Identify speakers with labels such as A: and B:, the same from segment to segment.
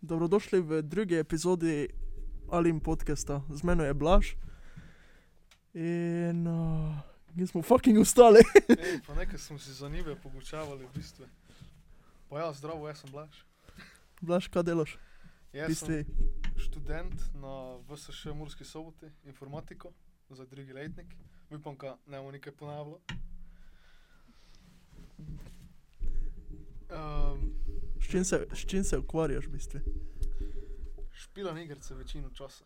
A: Dobrodošli v drugi epizodi Alim podcasta. Z mano je Blaž. In uh, mi smo fucking ustali.
B: Ej, pa nekaj smo si za nive pogučavali v bistvu. Pa ja, zdravo, jaz sem Blaž.
A: Blaž, kaj delaš?
B: Jaz
A: Bistvi,
B: sem študent na VSŠ Murski soboti, informatiko, za drugi letnik. Upam, da ne bomo nekaj ponavljali. Um,
A: s, čim se, s čim se ukvarjaš, bistvi?
B: špilam igrice večino časa,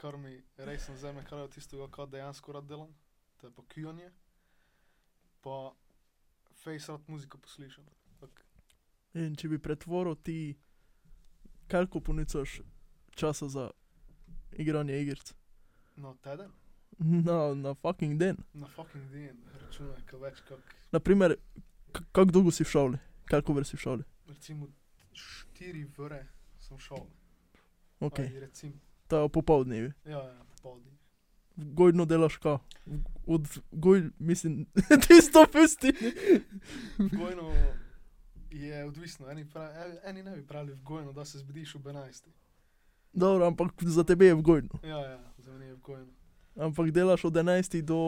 B: kar mi res ne zame kraj od tistega, kar dejansko rad delam, to je pa kujanje, pa face rad muziko poslušam. Tako,
A: In če bi pretvoril ti, koliko ponicaš časa za igranje igric?
B: No, teden.
A: Na, na fucking den.
B: Na fucking den, računaj, kaj več kot
A: Naprimer, k- kako dolgo si v šoli? Koliko vrsi v šoli?
B: recimo štiri vre sem šel.
A: Okay.
B: Ali recimo,
A: Ta popoldnevi.
B: ja, ja, podi.
A: Gojno delaš ka. Od goj, mislim, tisto pusti.
B: Vgojno je odvisno, eni, pra, en- eni ne bi pravili vgojno, da se zbudiš ob 11.
A: Dobro, ampak za tebe je gojno.
B: Ja, ja, za mene je vgojno.
A: Ampak delaš od 11 do,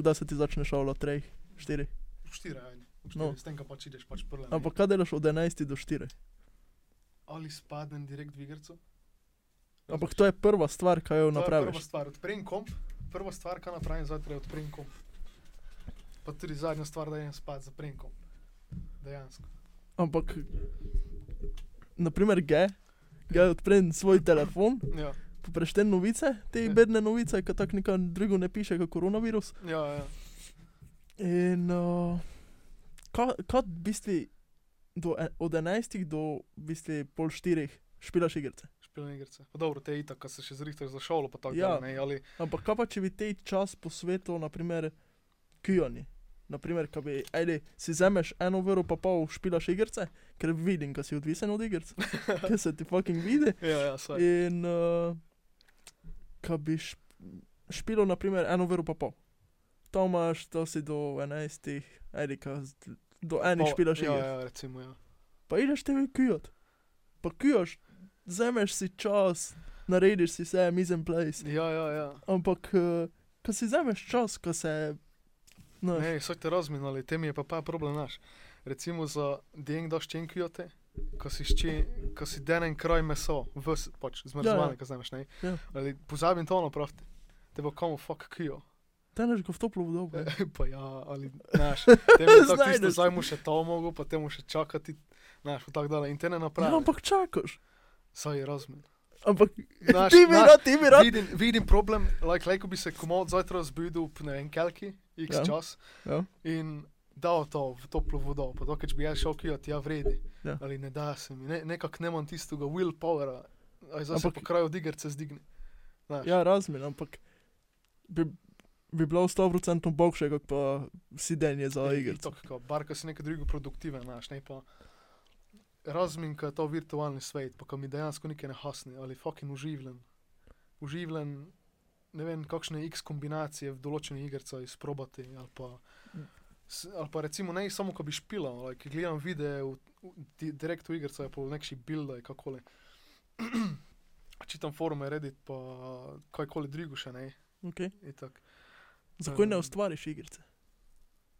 A: kdaj se ti začne šalo, 3, 4.
B: Ob 4, eni. Ob 4,
A: No.
B: no. s tem, ko pač ideš, pač prle.
A: Ampak kaj delaš od 11 do 4?
B: Ali spadnem direkt v igrico?
A: Ampak to je prva stvar, kaj jo
B: To je Prva
A: napraviš.
B: stvar, odprem komp, prva stvar, kar napravim zjutraj, odprem komp. Pa tudi zadnja stvar, da je spat, zaprem komp. Dejansko.
A: Ampak, naprimer, G, G odprem svoj telefon,
B: Ja,
A: preštem novice, te
B: Ja.
A: bedne novice, ki tako nikam drugo ne piše, kot koronavirus.
B: ja, ja.
A: In uh, ka- kot v bistvu do, e- od 11 do v bistvu pol 4 špilaš igrice.
B: špilne igrice. Pa dobro, te je itak, ko se še zrihtaš za šolo, pa tako
A: Ja.
B: ja. ne, ali
A: Ampak kaj pa če bi te čas posvetil, naprimer, kujoni? Naprimer, kaj bi, ajde, si vzameš eno uro pa pol špilaš igrice, ker vidim, da si odvisen od igric, ker se ti fucking vidi.
B: ja, ja, saj.
A: In uh, kaj bi šp špilo, naprimer, eno uro pa pol. To imaš, to si do 11, ajde, kaj z- do enih
B: Pol-
A: špilaš
B: ja,
A: igrice.
B: ja, recimo, ja.
A: pa ideš tebe kujat. Pa kujaš, vzameš si čas, narediš si vse, mizem place.
B: Ja, ja, ja.
A: Ampak, eh, ko si vzameš čas, ko se. No,
B: Ne, vsak te razminali, tem je pa pa problem naš. Recimo za den daš čenkijote, ko si, šči, ko si den en kraj meso, vs, pač
A: Ja, ja.
B: zmrzovane, ko znaš, ne.
A: Ja.
B: Ali pozabim to ono, pravite. Te bo komu fuck kijo.
A: teneš ga v toplo vodo. ne.
B: pa ja, ali znaš. Te bo tako tisto,
A: Znajdeš.
B: zdaj mu še to mogo, pa te mu še čakati, znaš, pa tako dalje. In te ne
A: Ja,
B: napravi.
A: ampak čakaš.
B: Saj je razmin.
A: Ampak,
B: Naš-
A: ti mi
B: naš-
A: rad, ti mi rad.
B: Vidim, vidim problem, like, like bi se komod zjutraj zbudil ob ne vem kelki, x
A: Ja.
B: ja. čas
A: Ja.
B: in dal to v toplo vodo, pa dokaj bi jaz šel kijati, ja vredi.
A: Ja.
B: Ja. Ali ne da se mi, ne, nekako nemam tistega willpowera, aj zdaj se
A: Ampak-
B: po kraju digerce zdigne. Znaš,
A: Ja, razumem, ampak bi, bi bilo 100% boljše, kot pa sidenje za
B: in- in
A: igrico.
B: tako, kao, Barka si nekaj drugo produktiven, znaš, ne pa. Razmin, ko je to virtualni svet, pa ko mi dejansko nekaj ne hasne, ali fucking uživljen. Uživljen, ne vem, kakšne x kombinacije v določeni igrici izprobati. Ali pa, s- ali pa recimo ne samo, ko bi špila, like, gledam videe, v, v, di, direkt v igrici, pa nekši builda, kakoli. Čitam forume, Reddit, pa kajkoli drugo še ne.
A: Okay.
B: Itak.
A: Zakaj ne
B: Ehm.
A: ustvariš igrice?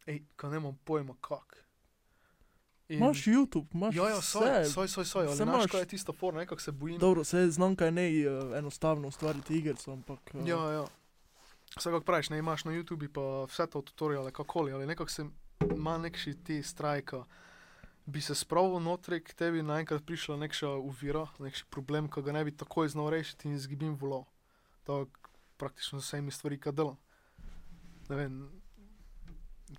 B: Ej, ko nemam pojma, kak. In-
A: Imaš YouTube, imaš
B: Ja, ja, soj,
A: vse.
B: soj, soj, soj, ali
A: Saj
B: znaš,
A: imaš-
B: kaj je tisto for, nekako se bojim.
A: Dobro, se znam, kaj ne eh, enostavno ustvariti igrico, ampak. eh,
B: Ja, ja. Vse kako praviš, ne imaš na YouTubi pa vse to tutoriale, kakoli, ali nekako se ima nekši ti strajka. Bi se spravil notri, k tebi naenkrat prišla nekša uvira, nekši problem, ki ga ne bi takoj znal rešiti in izgibim volo. To je praktično z vsemi stvari, ki delam. Ne vem,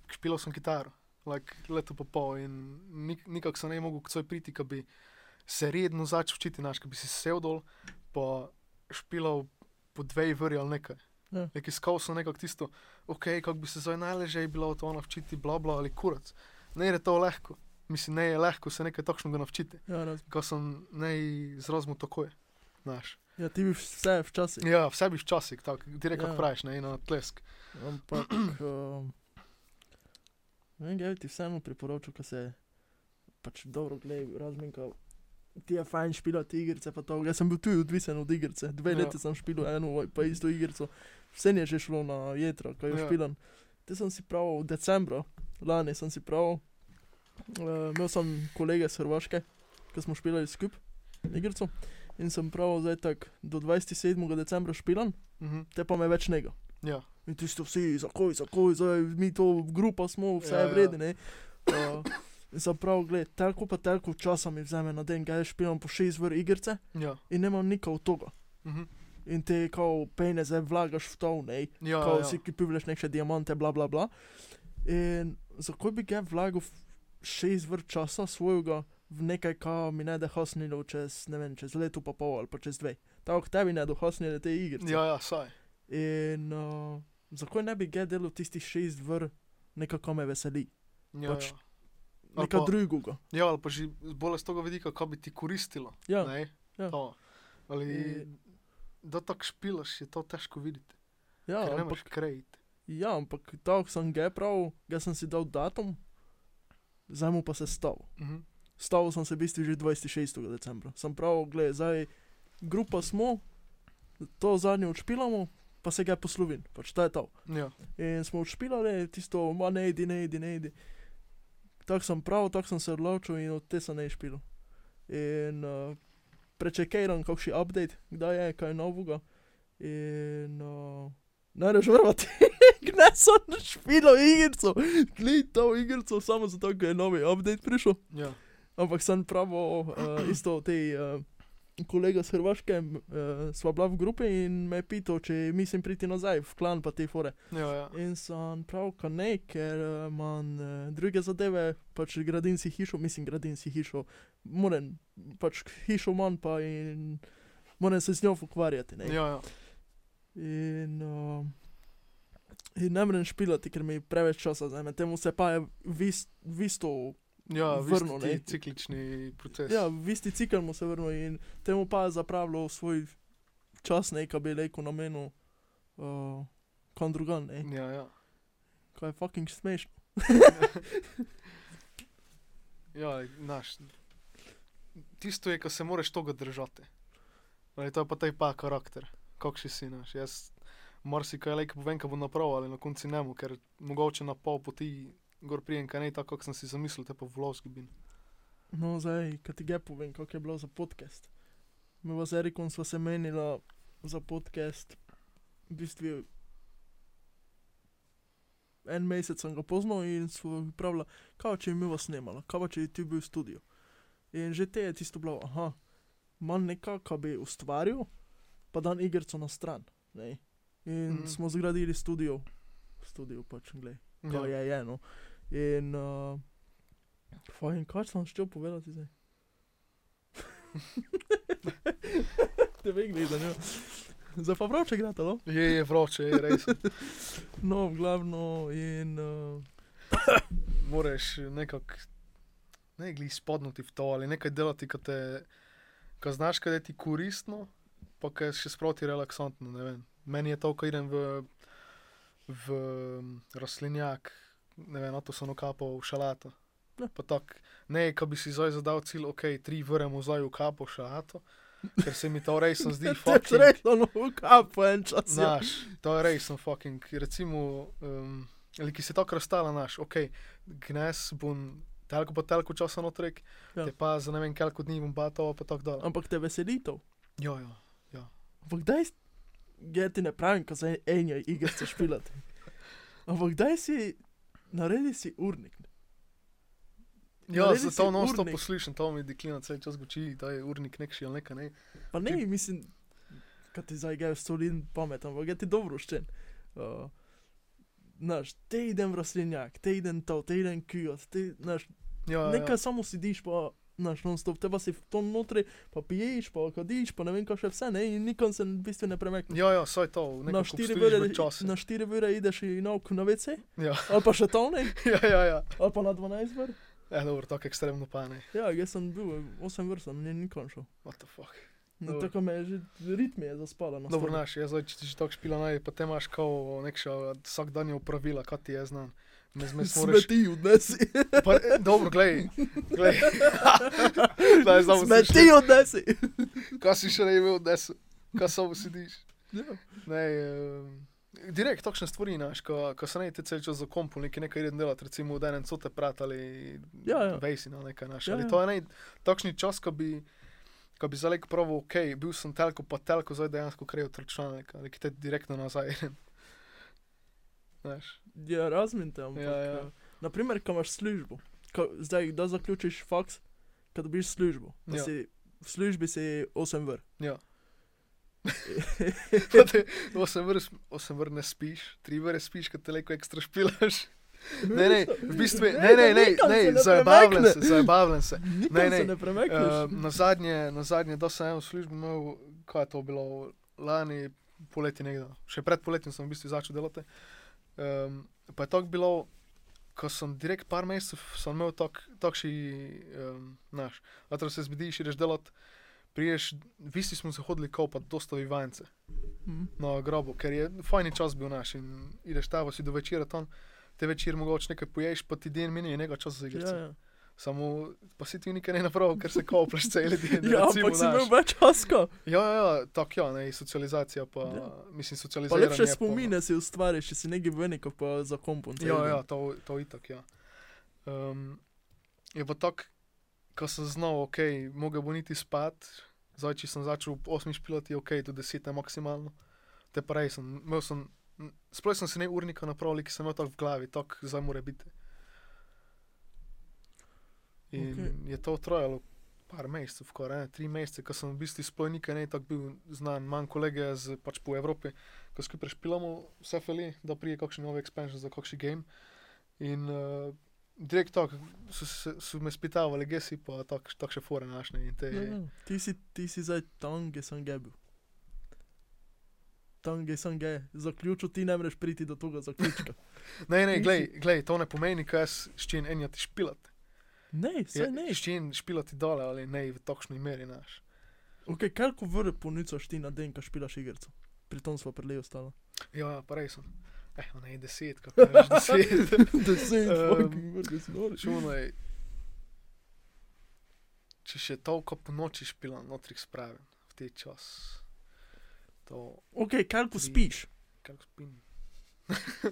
B: špilal sem kitaro, like, leto pa pol in nik nikak se ne bi mogel k svoj priti, ki bi se redno začel učiti, naš, ki bi si sedel dol, pa špilal po dvej vrji ali nekaj.
A: Ja.
B: Ja. Nek iskal sem nekako tisto, ok, kako bi se zdaj najlažje bilo to naučiti, bla bla ali kurac. Ne je to lahko. Mislim, ne je lahko se nekaj takšnega naučiti,
A: Ja, razumem.
B: ko sem ne izrazil takoj. Znaš.
A: Ja, ti bi vse včasih.
B: Ja, vse bi včasih, tako direkt
A: Ja.
B: ja. praviš, ne na tlesk.
A: Ampak, um, ne vem, kaj bi ti vseeno priporočil, ko se pač dobro gledaj, razmenka. ti je fajn špilati igrice, pa to. Jaz sem bil tudi odvisen od igrice, dve
B: Ja.
A: ja. leti sem špil eno, pa isto igrico. Vse je že šlo na jedro, ko je
B: Ja.
A: ja. špilan. Te sem si pravil v decembru, lani sem si pravil, uh, imel sem kolege iz Hrvaške, ki smo špilali skupaj igrico in sem pravil zdaj tak do 27. decembra špilan,
B: Mhm.
A: te pa me več nego.
B: Ja.
A: In ti ste vsi, zakoj, zakoj, zdaj mi to grupa smo, vse
B: Ja,
A: je
B: ja.
A: vredno, ne. Uh, in sem prav, gled, telko pa telko časa mi vzame na den, kaj špilam po šest vr igrice
B: Ja.
A: in nemam nikov toga.
B: Mhm.
A: In te kao pejne zdaj vlagaš v to, ne,
B: Ja,
A: kao
B: ja.
A: si kupivljaš neke diamante, bla bla bla. In zakoj bi ga vlagal v šest vr časa svojega v nekaj, kar mi ne da hosnilo čez, ne vem, čez leto pa pol ali pa čez dve. Tako tebi ne da hosnile te igrice.
B: ja, ja, saj.
A: In uh, zakaj ne bi ga delal tistih šest vr, nekako me veseli,
B: Ja,
A: Pač-
B: ja. Ali
A: nekaj
B: pa-
A: drugega.
B: ja, ali pa že bolj z tega vidika, kaj bi ti koristilo.
A: Ja.
B: Ne?
A: Ja.
B: To. Ali,
A: E.
B: da tako špilaš, je to težko videti.
A: Ja,
B: Ja, ne moreš
A: ampak,
B: krejiti.
A: ja, ampak tako sem ga prav, ga sem si dal datum, zdaj mu pa se stav.
B: Mhm.
A: Stavil sem se v bistvu že 26. decembra. Sem prav, gledaj, zdaj grupa smo, to zadnje odšpilamo, pa se ga poslovim, pač to je to.
B: Ja.
A: In smo odšpilali tisto, ma ne idi, ne idi, ne idi. Tako sem prav, tako sem se odločil in od te sem ne špil. In uh, prečekiram kakšen update, kdaj je kaj novega. In uh, ne reš vrvati, ne sem špil igrico, gledaj to igrico samo zato, ker je novi update prišel.
B: Ja.
A: Ampak sem pravo, uh, isto te uh, kolega z Hrvaške, m, uh, sva bila v grupi in me je pital, če mislim priti nazaj v klan pa te fore.
B: Ja, ja.
A: In sem prav, ka ne, ker eh, imam uh, druge zadeve, pač gradim si hišo, mislim, gradim si hišo, moram, pač hišo imam pa in moram se z njo ukvarjati. Ne?
B: Ja, ja.
A: In, uh, in ne morem špilati, ker mi preveč časa zame, temu se pa je v ist- v isto
B: ja
A: Vrnil,
B: vrnil,
A: ne.
B: ne. Ciklični proces.
A: Ja, v isti cikl mu se vrnil in temu pa je zapravljal svoj čas, nekaj bi rekel, namenil uh, kam drugam, ne.
B: ja. ja.
A: Kaj je fucking smešno.
B: Ja, znaš, tisto je, ko se moraš toga držati. Ali, to je pa taj pa karakter, kakšen si naš. Jaz marsikaj le povem, kaj bo napravil, ali na koncu ne bo, ker mogoče na pol poti gor prijem, kaj ne tako, kot sem si zamislil, te pa v los gubim.
A: No, zdaj, kaj ti ga povem, kako je bilo za podcast. Mi pa z Erikom sva se menila za podcast, v bistvu en mesec sem ga poznal in sva mi pravila, kaj če bi mi vas snimala, kaj pa če bi ti bil v studiu. In že te je tisto bilo, aha, manj nekaj, kar bi ustvaril, pa dan igrico na stran. Ne? In
B: Mhm.
A: mm. smo zgradili studio, studio pač, glej
B: Ja,
A: to je eno. In, uh, fajn, kaj sem šel povedati zdaj? Te ve, gleda, ne. Za pa prav, če gre talo.
B: je, je vroče, je res.
A: No, glavno in. Uh,
B: Moraš nekako, ne gli spodnuti v to, ali nekaj delati, kar te, kar znaš, kaj je ti koristno, pa kaj je še sproti relaksantno, ne vem. Meni je to, ko idem v, v rastlinjak, ne vem, na to sem okapal šalato.
A: Ja.
B: Pa tak, ne, ko bi si zdaj zadal cilj, ok, tri vremo zdaj v kapo šalato, ker se mi Ja, to res zdi
A: Teč
B: fucking...
A: rejno, no, kapo en čas. Ja.
B: Znaš, to je resen fucking. Recimo, um, ali ki se tako razstala, znaš, ok, gnes bom telko pa telko časa notrek,
A: Ja.
B: ja. te pa za ne vem koliko dni bom batalo, pa tako dalje.
A: Ampak te veseli to.
B: Ja, ja.
A: Ampak daj, ja ti ne pravim, ko se enja igrice špilati. Ampak daj si, naredi si urnik.
B: Ja,
A: Naredi Ja, si
B: zato non stop
A: urnik.
B: poslušam, to mi deklina cel čas goči, da je urnik nek šil, neka ne.
A: Pa ne,
B: Ti-
A: ti... mislim, kad ti zdaj gajo soliden pamet, ampak je ti dobro uščen. Uh, Znaš, te idem v rastlinjak, te idem to, te idem kijot, te, znaš,
B: Ja, ja,
A: nekaj
B: ja.
A: samo sidiš pa, znaš, non stop, te pa si v tom notri, pa piješ, pa kadiš, pa ne vem, kaj še vse, ne, in nikam se v bistvu ne premakne.
B: Ja, ja, saj to,
A: Na
B: nekako
A: štiri,
B: obstojiš
A: vire,
B: v času.
A: na štiri vire ideš in nauk na WC,
B: Ja,
A: ali pa še to ne,
B: ja, ja. ja.
A: ali pa na 12 vr.
B: E, dobro, tako ekstremno pa ne.
A: Ja, jaz sem bil 8 vr, sem ni- nikam šel.
B: What the fuck.
A: No,
B: Dobro.
A: tako me je že, ritem je zaspala. na
B: Dobro,
A: stolu.
B: ja, znaš, jaz zdaj, če ti že tako špila naj, pa te imaš kao nekša vsakdanja opravila, kaj ti je znan. Me zmes moraš.
A: Smeti odnesi.
B: Pa, eh, dobro, glej. glej. Daj, znamo se
A: Smeti odnesi.
B: Kaj si še ne imel odnesel? Kaj samo sediš?
A: Ja.
B: Ne, um, direkt takšne stvari, znaš, ko, ko se ne ti cel čas za kompu nekaj, nekaj idem delati, recimo v enem cote prat ali
A: Ja, ja.
B: vejsi na nekaj naš.
A: Ja,
B: Ja, ali
A: ja.
B: to je ne, takšni čas, ko bi, ko bi zalek pravo, ok, bil sem telko, pa telko zdaj dejansko krejo trčlanek, ali ki te direktno nazaj idem. Znaš,
A: Ja, razmin te, ampak.
B: Ja,
A: Ja,
B: ja.
A: ja. Naprimer, ko imaš službo, ko, zdaj, da zaključiš faks, ko dobiš službo, pa
B: Ja.
A: ja. si v službi si 8 vr.
B: ja. Da te osem vr, osem vr ne spiš, tri vr spiš, kad te leko ekstra špilaš. Ne, ne, v bistvu, je- ne, ne, ne,
A: nikam se
B: ne,
A: ne
B: zabavljam se,
A: premakne.
B: zabavljam se.
A: Nikam
B: Ne,
A: ne,
B: ne,
A: ne. se ne premekneš.
B: Eh, na zadnje, na zadnje, da sem eno službo imel, kaj je to bilo, lani poleti nekdo, še pred poletjem sem v bistvu začel delati. Um, pa je tako bilo, ko sem direkt par mesecev, sem imel tak, takši, um, znaš, a torej se zbudiš, ideš delati, priješ, v bistvu smo se hodili kopati, dosta vivance
A: Mhm.
B: na grobu, ker je fajni čas bil naš in ideš tavo si do večera tam, te večer mogoče nekaj poješ, pa ti den meni je nekaj časa za igrice.
A: Ja, ja.
B: Samo pa si ti nekaj ne napravil, ker se koplaš cel dan.
A: ja,
B: recimo,
A: ampak si
B: znaš.
A: imel več aska.
B: Ja, ja, ja tako ja, ne, socializacija pa, ja.
A: Ja.
B: mislim,
A: Pa
B: socializacija.
A: lepše spomine si ustvariš, če si nekaj venikov pa za kompon. cel
B: Ja,
A: dan.
B: ja, to, to itak, ja. Um, je pa tako, ko sem znal, ok, mogel bo niti spat, zdaj, če sem začel ob 8 špilati, ok, do 10 maksimalno. Te pa rej sem, imel sem, sploh sem si ne urnika napravil, ki sem imel tako v glavi, tako zdaj mora biti. In okay.
A: Okej.
B: je to trajalo par mesecev, skoraj ne, tri mesece, ko sem v bistvu sploh nikaj ne tako bil znan, manj kolege z, pač po Evropi, ko skupaj špilamo vse feli, da prije kakšen nov expansion za kakšen game. In uh, direkt tako so, se- so me spitavali, gesi pa tako tak še fore našne. in Te,
A: Ja, ja. Ti si, ti si zdaj tam, kjer sem ge bil. Tam, kjer sem ge. Zaključil ti ne moreš priti do tega zaključka.
B: ne, ne,
A: ti
B: glej, glej, to ne pomeni, kaj jaz s čim enjati špilati.
A: Ne, vse ne.
B: S čim špilati dole ali ne v takšni meri naš.
A: Ok, kako vrne punicaš ti na den, ko špilaš igrico? Pri tom smo prelevi ostalo.
B: Ja, ja, pa res sem. Eh, ne, deset, kako je deset.
A: Deset,
B: Ehm,
A: fucking vrne, snoriš.
B: Čunaj. Če še toliko po noči špilam, notri spravim v te čas. To,
A: Ok, kako
B: Tri.
A: spiš?
B: kako spim.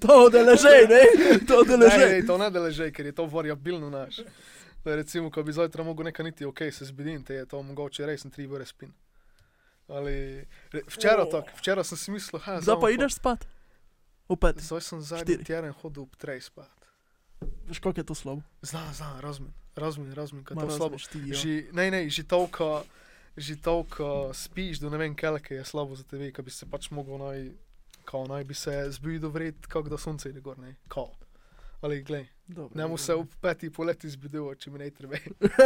A: To da leže, ne? To da
B: Ne,
A: leže.
B: ne, to ne da leže, ker je to variabilno naš. Da recimo, ko bi zjutraj mogel nekaj niti, ok, se zbudim, te je to mogoče res, sem tri ure spin. Ali, re, včeraj,
A: O.
B: tak, včeraj sem si mislil, ha,
A: Zdaj pa
B: bom
A: ideš spat. Opet.
B: Zdaj sem zadnji
A: Štiri.
B: teden hodil ob trej spat.
A: Veš, kako je to slabo?
B: Znam, znam, razumem, razumem, razumem, kako
A: Ma
B: je to slabo.
A: razumeš ti, ja.
B: Že, ne, ne, že toliko, že toliko spiš, da ne vem, kaj je slabo za tebe, kaj bi se pač mogel naj, kao naj bi se zbil do vred, kako da sonce ide gor, ne, kao. Ali glej.
A: Dobro,
B: Ne mu
A: dobro.
B: se v peti poleti zbudil, če mi ne treba.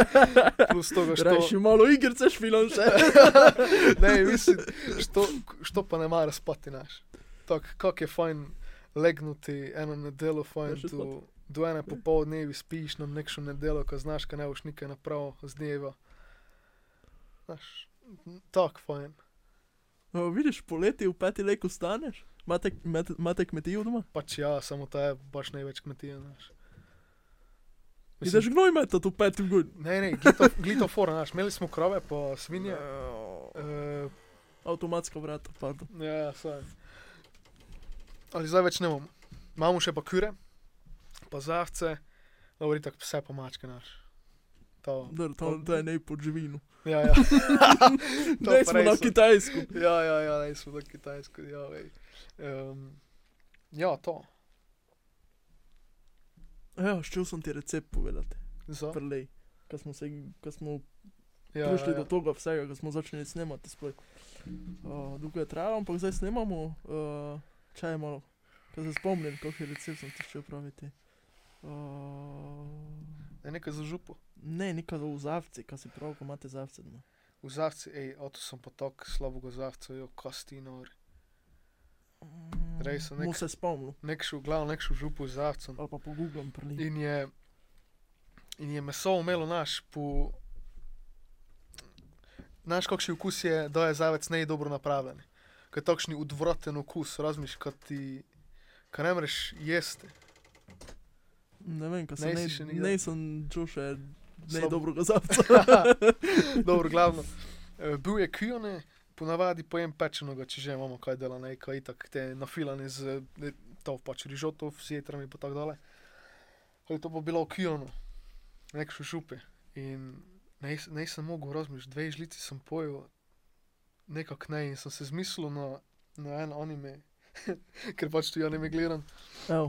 B: Plus toga,
A: Rajši
B: što,
A: malo igrice špilam še.
B: ne, mislim, što, što pa ne mara spati naš. Tak, kak je fajn legnuti eno nedelo, fajn
A: še
B: tu. Do ene popoldnevi spiš na nekšno nedelo, ko znaš, ka ne boš nikaj naprav z dneva. Znaš, tak fajn.
A: O, vidiš, poleti v peti leku staneš? Imate, imate- imate kmetijo doma?
B: Pač ja, samo ta je baš največ kmetije, znaš.
A: Mislim, Ideš gnoj metat v peti v gud.
B: ne, ne, glito- glitofor, znaš, imeli smo krove pa svinje. eh,
A: Avtomatska vrata, pardon.
B: Ja, Ja, saj. Ali zdaj več ne bom. Imamo še pa kure, pa zavce, dobro, tako vse pa mačke naš. To.
A: Dobro, to, to je nej pod živino.
B: Ja, ja. To
A: Ne
B: pa
A: smo
B: res
A: na
B: so.
A: Kitajsku.
B: ja, ja, ja, ne smo na Kitajsko. Ja, um, ja to.
A: Ja, šel sem ti recept povedati,
B: Za.
A: prlej. Ko smo, se, ko smo
B: Ja,
A: ja, prišli ja.
B: ja,
A: do tega vsega, ko smo začeli snemati sploh. Uh, Dolgo je trajalo, ampak zdaj snemamo, uh, če je malo. Ko se spomnim, kakšen recept sem ti šel praviti. Uh,
B: Ja. Nekaj za župo.
A: ne, nekaj v zavci, kaj si prav, ko imate zavce doma.
B: V zavci, ej, oto sem pa tako slabega zavca, jo kostinor. Rej sem
A: Mu
B: nek,
A: se spomnim,
B: nek šel, glavno nek šel župo z zavcem.
A: ali pa pogooglam prlej.
B: In je, in je meso imelo naš po. Naš kakšen okus je, da je zavec ne dobro napravljen. Ker takšni odvraten okus, razmišljaš, kot ti, kar ne moreš jesti.
A: Ne vem, kaj se
B: Nisi
A: ne,
B: še nikdar-
A: ne sem čutil še
B: Slab-
A: najdobro gozavca.
B: Dobro, glavno. Eh, Bil je kjone, ponavadi pojem pečenega, če že imamo kaj dela, nekaj itak te nafilane z eh, to pač rižoto, s jetrami in tako dalje. Ali to bo bilo v kjonu, nekšo župi. In naj- naj sem mogel razmišljati, dve žlici sem pojel, nekak ne in sem se zmislil na, na en anime, ker pač tu anime gledam,
A: Evo,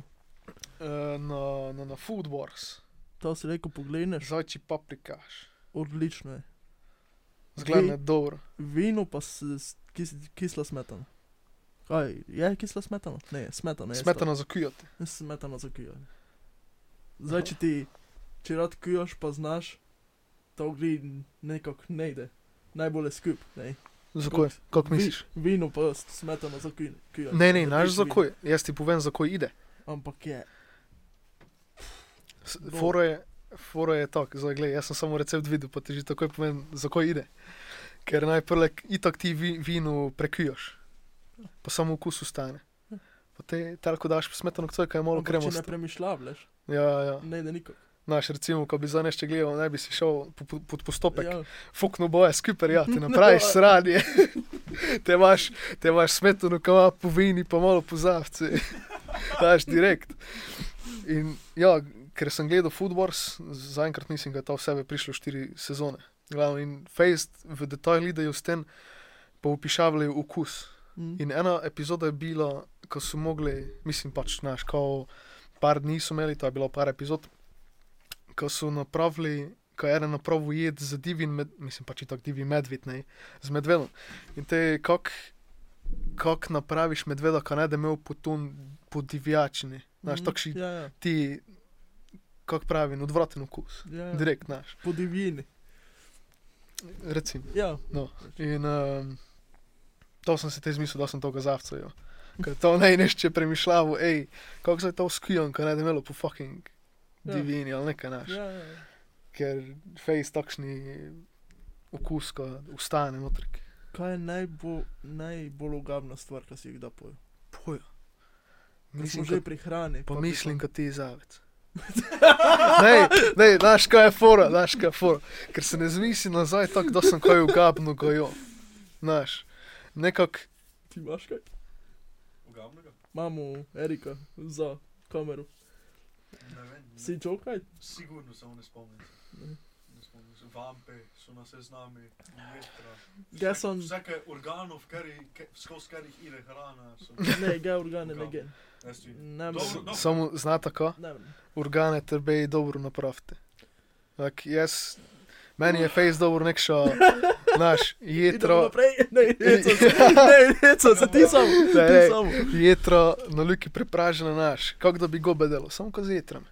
B: eh, na, na, na Food Wars,
A: to si rekel, pogledneš,
B: zajči paprikaš.
A: odlično je.
B: Zgledno je dobro.
A: Vino pa s, s kis, kisla smetana. Kaj, je kisla smetana? Ne, smetana je.
B: Smetana za kjote.
A: sta- Smetana za kujo. Zdaj, če ti, če rad kujoš, pa znaš, to gre nekako ne ide. Najbolje skup, ne.
B: Zakaj? Kako misliš?
A: Vi, vino pa s smetano za kujo.
B: Ne, ne, naš zakoj. Jaz ti povem, zakoj ide.
A: Ampak je,
B: S-
A: Dobro.
B: Fora je, fora je tak, zdaj gledaj, jaz sem samo recept videl, pa ti že takoj povem, zakoj ide. Ker najprej itak ti vi, vino prekujaš, pa samo okus ustane. Potem, tako daš smetano, ko je malo
A: ampak če ne
B: kremosto.
A: premišljavljaš,
B: Ja, ja.
A: ne ide nikak.
B: Naš recimo, ko bi za nešče gledal, ne bi si šel po- po- pod postopek.
A: Ja,
B: Fukno boje, skuper, ja, ti napraviš sranje. te imaš, te imaš smetano, kava po vini, pa malo po zavci. Daš direkt. In ja, ker sem gledal Foodwars, zaenkrat mislim, da je to vsebe prišlo štiri sezone. Glavno, in Faced v detajli idejo s tem, pa upišavljajo okus.
A: mm.
B: In ena epizoda je bila, ko so mogli, mislim pač, znaš, ko par dni so imeli, to je bilo par epizod, ko so napravili, ko je eden napravil jed za divjim, med, mislim pač tako divji medved, ne, z medvedom. In te, kak, kak napraviš medveda, ko ne da imel potun po divjačini, znaš,
A: Mhm.
B: takšni
A: Ja, ja,
B: ti, kak pravi, odvraten okus.
A: ja, ja.
B: Direkt, znaš,
A: po divjini.
B: recimo.
A: Ja,
B: In um, to sem se te zmislil, da sem to gazavcev. Ker to naj nešče premišljavo, hej, kako se je to skijon, ker naj da imelo po fucking
A: Ja.
B: divini ali nekaj naš.
A: ja, ja. ja.
B: Ker face takšni okus, ko ustane notrik.
A: Kaj je najbo, najbolj ugabna stvar, ki si jih da pojo?
B: Pojo.
A: Ko smo
B: Mislim,
A: že
B: ka,
A: pri hrani.
B: pa
A: ti
B: mislim, da ti je zavec. ne, ne, znaš kaj je fora, znaš kaj je fora. Ker se ne zmisli nazaj tako, da sem kaj ugabno gojo. Znaš, nekak
A: pa- Ti imaš kaj? Imamo Erika za kamero.
C: Ne vem, ne.
A: Si čokaj?
C: sigurno se on ne spomnim. se.
A: Ne.
C: Ne spomnim se. Vampe so na seznami, metra.
A: Ge sem,
C: Vsake organov, kari- ke- skozi katerih ide hrana, so.
A: ne, ge organe, ne ge.
C: Jaz ti-
A: Ne,
C: Dobro,
B: s-
A: vem.
C: dobro.
B: samo znata kaj.
A: ne vem.
B: organe tebe dobro napravite. Tak, jaz, meni je face dobro nekša, naš
A: Idemo
B: jetro,
A: naprej. Ne, jeco se, ne, jeco se, ti sam,
B: Ne,
A: ti
B: ne.
A: sam.
B: jetro na luki prepražena naš, kako da bi gobe delo, samo ko z jetrom.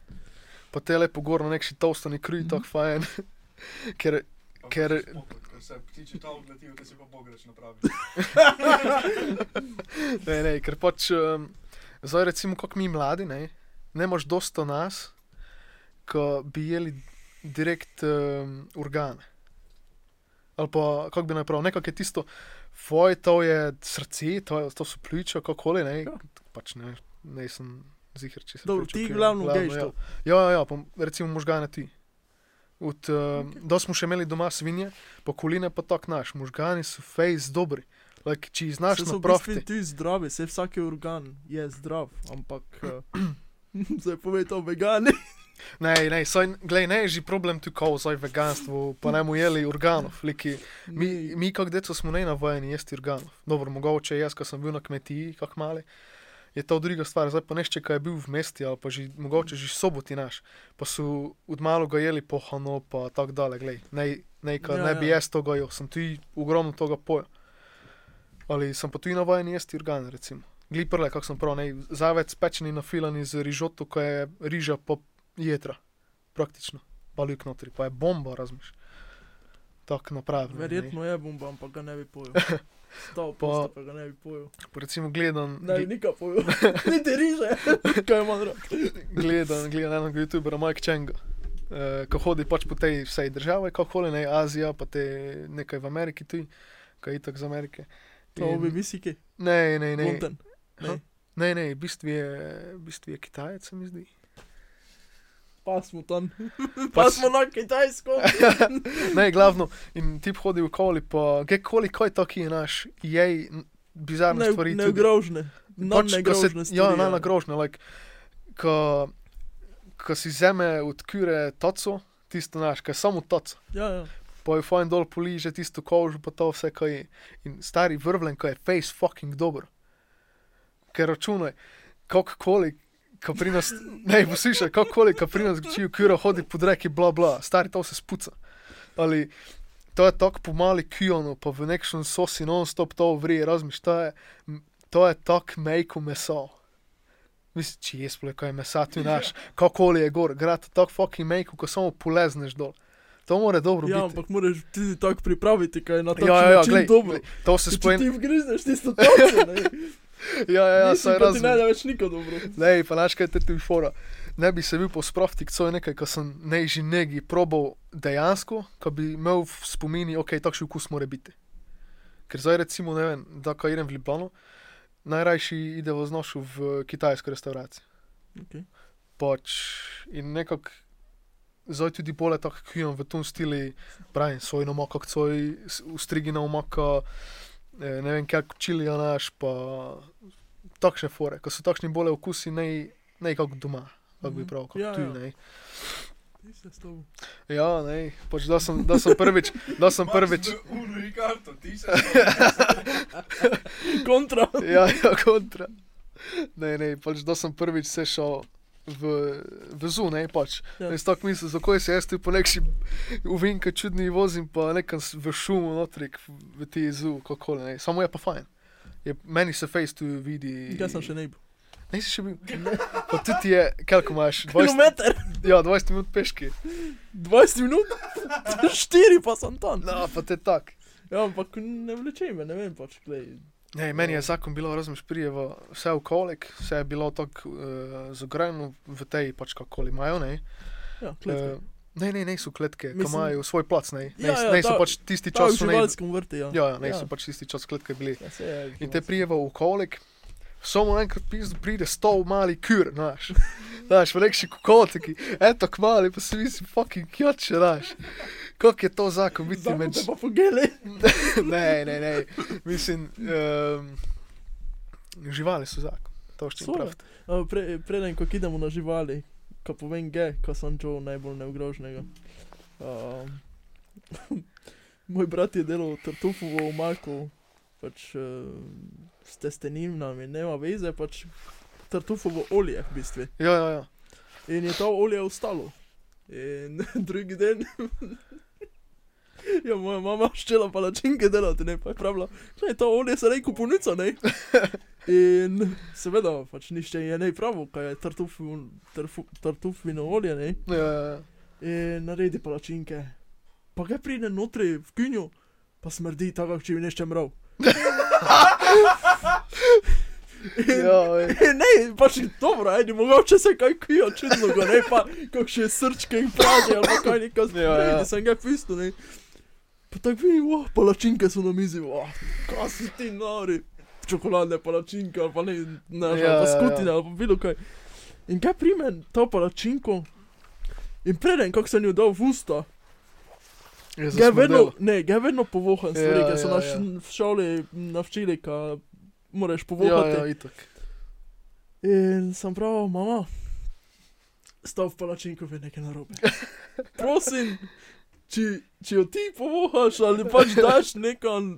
B: Pa te lepo gor na nekši tolstani kruj, tako fajn. Ker,
C: Pa
B: Ker-
C: ko se spopad, ko se ptiči ta odletijo, da si pa bograč napravi.
B: ne, ne, ker pač, um, zdaj recimo, kako mi mladi, ne, ne moš dosto nas, ko bi jeli direkt um, organe. Ali pa, kako bi naj prav, nekako je tisto, foj, to je srce, to, je, to so pljuča, kakoli, ne,
A: Ja.
B: ja. pač ne, ne sem zihar, če se
A: Dobro,
B: pljuča
A: ti
B: pijejo,
A: glavno gejš
B: ja.
A: to.
B: Ja, ja, ja pa recimo možgane ti. Od, um, okay. Da smo še imeli doma svinje, pa koline pa tak naš, možgani so fejs dobri. Like, če jih znaš no,
A: Saj so v
B: napraviti,
A: bistvu ti zdravi, se vsaki organ je zdrav, ampak... eh, Zdaj povej to vegani.
B: Ne, ne, saj, glej, ne je že problem tu, ko zdaj veganstvo, pa ne mu jeli organov. Liki, mi, mi kot deco smo ne navajeni jesti organov. Dobro, mogoče jaz, ko sem bil na kmetiji, kak mali, je to druga stvar. Zdaj pa nešče, ko je bil v mesti ali pa že, mogoče že soboti naš, pa so od malega jeli pohano, pa tako dalje. Glej, ne, ne, ja,
A: Ja,
B: ne bi
A: ja.
B: jaz tega jel, sem tu ogromno tega pojel. Ali sem pa tu navajen jesti organe, recimo. Gliprle, kako sem prav, ne, zavec pečeni nafilani z rižoto, ko je riža po jedra praktično, pa luk notri, pa je bomba, razmiš. Tako napravljeno. ne.
A: Verjetno je bomba, ampak ga ne bi pojel. Stav
B: Pa-
A: pa pa ga ne bi pojel.
B: Pa Recimo gledam,
A: Ne bi
B: gl-
A: nikak pojel. Niti riže. Kaj ima drag?
B: gledam, gledam enega youtubera Mike Chenga, eh, ko hodi pač po tej vsej državi, kako holi, ne Azija, pa te nekaj v Ameriki tu, kaj je tako z Amerike.
A: To
B: In-
A: obi visiki.
B: Ne, ne, ne.
A: Konten.
B: Ne, ne, v bistvu je, v bistvu je Kitajec, se mi zdi.
A: Pa smo tam, pa
B: Pač- Ja,
A: smo na Kitajsko.
B: Ne, glavno, in ti hodi okoli, pa kjerkoli, kaj to ki je naš, jej, n- bizarne
A: Ne,
B: stvari. tudi.
A: neogrožne.
B: Pač, ko se-
A: Neogrožne stvari.
B: Ja, na nagrožne, like, ko, ko si zeme odkure toco, tisto naš, ko je samo toco.
A: Ja, ja.
B: Pa je fajn dol poliže tisto kožo, pa to vse, kaj je. In stari vrvlen, ko je face fucking dober. Ker računaj, kakorkoli, ko pri nas, ne bo slišal, kakorkoli, ko pri nas čijo kura hodi pod reki, bla bla, stari to se spuca. Ali to je tako pomali kijonu, pa v nekšnem sosi non-stop to vrije, razmiš, to je, m, to je tako mejko meso. Mislim, če je sploh kaj mesa tu naš, kakorkoli je gor, grad tako fucking mejko, ko samo polezneš dol. To mora dobro
A: ja,
B: biti.
A: ampak moraš ti tako pripraviti, kaj je na takšen
B: Ja, ja, ja,
A: način
B: glej,
A: dobro.
B: glej, to se
A: Če
B: spomni.
A: ti vgrizneš tisto točko, ne.
B: Ja, ja, ja,
A: Nisi pa
B: saj
A: ti Ne,
B: razumem.
A: da več niko dobro.
B: Ne, pa naš kaj te ti fora. Ne bi se bil posproftik, to je nekaj, kar sem ne že negi probal dejansko, ko bi imel v spomini, ok, takšen okus mora biti. Ker zdaj recimo, ne vem, da ko idem v Ljubljano, najrajši ide v znošu v kitajsko restauracijo.
A: Okej.
B: Pač in nekako zdaj tudi bolje tako kujem v tom stili, pravim, sojno moko, soj, ustrigina omaka, eh, ne vem, kaj čilija naš, pa takšne fore, ko so takšni bolje okusi, ne, ne kako doma, kako bi
A: Mhm.
B: prav,
A: Ja,
B: kako tu,
A: ja.
B: ne.
A: Ti se s tobom.
B: Ja, ne, pač da sem, da sem prvič, da sem prvič.
C: Uno er i karto, ti se.
A: Kontra.
B: ja, ja, kontra. Ne, ne, pač da sem prvič se šel v, v zunaj. Pač.
A: Ja.
B: Ja. Jaz tako mislim, zakaj se jaz tu po neki uvinka čudni vozim, pa nekam s- v šumu notrik, v ti zu, kako ne. Samo je pa fajn. Je, meni se face tu vidi.
A: Jaz sem še ne bil.
B: Ne, si še bil. Pa tudi je, koliko imaš? 20,
A: Kilometer,
B: ja, 20 minut peški.
A: 20 minut, 4 pa sem tam.
B: No, pa te tak.
A: Ja, ampak ne vleče me, ne vem pač. glej.
B: Ne, meni je zakon bilo, razumeš, prijevo vse v kolik, vse je bilo tako uh, zagrajeno v tej pač kakoli imajo, ne.
A: Ja,
B: Eh, Ne, ne, ne so kletke, ki
A: Mislim-
B: imajo svoj plac, ne, ne,
A: Ja, ja,
B: ne so
A: ta-
B: pač tisti
A: Čas v
B: čas, so ne,
A: živalskem vrtu, ja.
B: ja, ja, ne so pač tisti čas kletke bili.
A: Ja, saj je,
B: In te prijeva v kolik, samo enkrat pizdu pride sto mali kur, znaš, znaš, v nekši kokotiki, eto kmali, pa se misli, fucking kjoče, znaš. Kak je to zakon, biti
A: Zakon
B: med...
A: te pa pogele.
B: ne, ne, ne, mislim, um, živali so zakon, to še
A: So.
B: ni prav.
A: A, Pre, preden, ko idemo na živali, ko povem ge, ko sem Joe najbolj neogrožnega. Um, moj brat je delal tartufovo omako, pač uh, s testeninami, nema veze, pač tartufovo olje v bistvu.
B: Ja, ja, ja.
A: In je to olje ostalo. In drugi dan. Ja, moja mama štela palačinke delati, ne, pa je pravila, da je to olje se reko punica, ne. In seveda, pač nišče je ne pravo, kaj je tartufin- tarfu- tartufino olje, ne.
B: ja, ja, ja.
A: In naredi palačinke. Pa ga pride notri v kinju, pa smrdi tako, če bi nešče mrav. In-
B: Ja, ej.
A: Ne, pač dobro, ajde, mogoče se kaj kujo čudno, go, ne pa kakšne srčke in praže ali pa kaj nekaj
B: Ja, ja.
A: zmeraj, da sem ga pisal, ne. Pa tako vi, oh, palačinke so na mizi, oh, kaj si ti nori, čokoladne palačinke ali pa ne, ne,
B: Ja,
A: ja, pa
B: ja, ja.
A: skutine ali pa bilo kaj. In kaj prime to palačinko in preden, kako sem jo dal v usta,
B: Je
A: Ga je vedno,
B: zasmrdelo.
A: ne, ga je vedno povohan stvari,
B: Ja,
A: ker so
B: ja,
A: nas
B: ja.
A: v šoli navčili, ka moraš
B: Ja,
A: povohati.
B: ja, itak.
A: In sem prav, mama, stav palačinkov je nekaj narobe. Prosim, če, če jo ti povohaš ali pač daš nekam,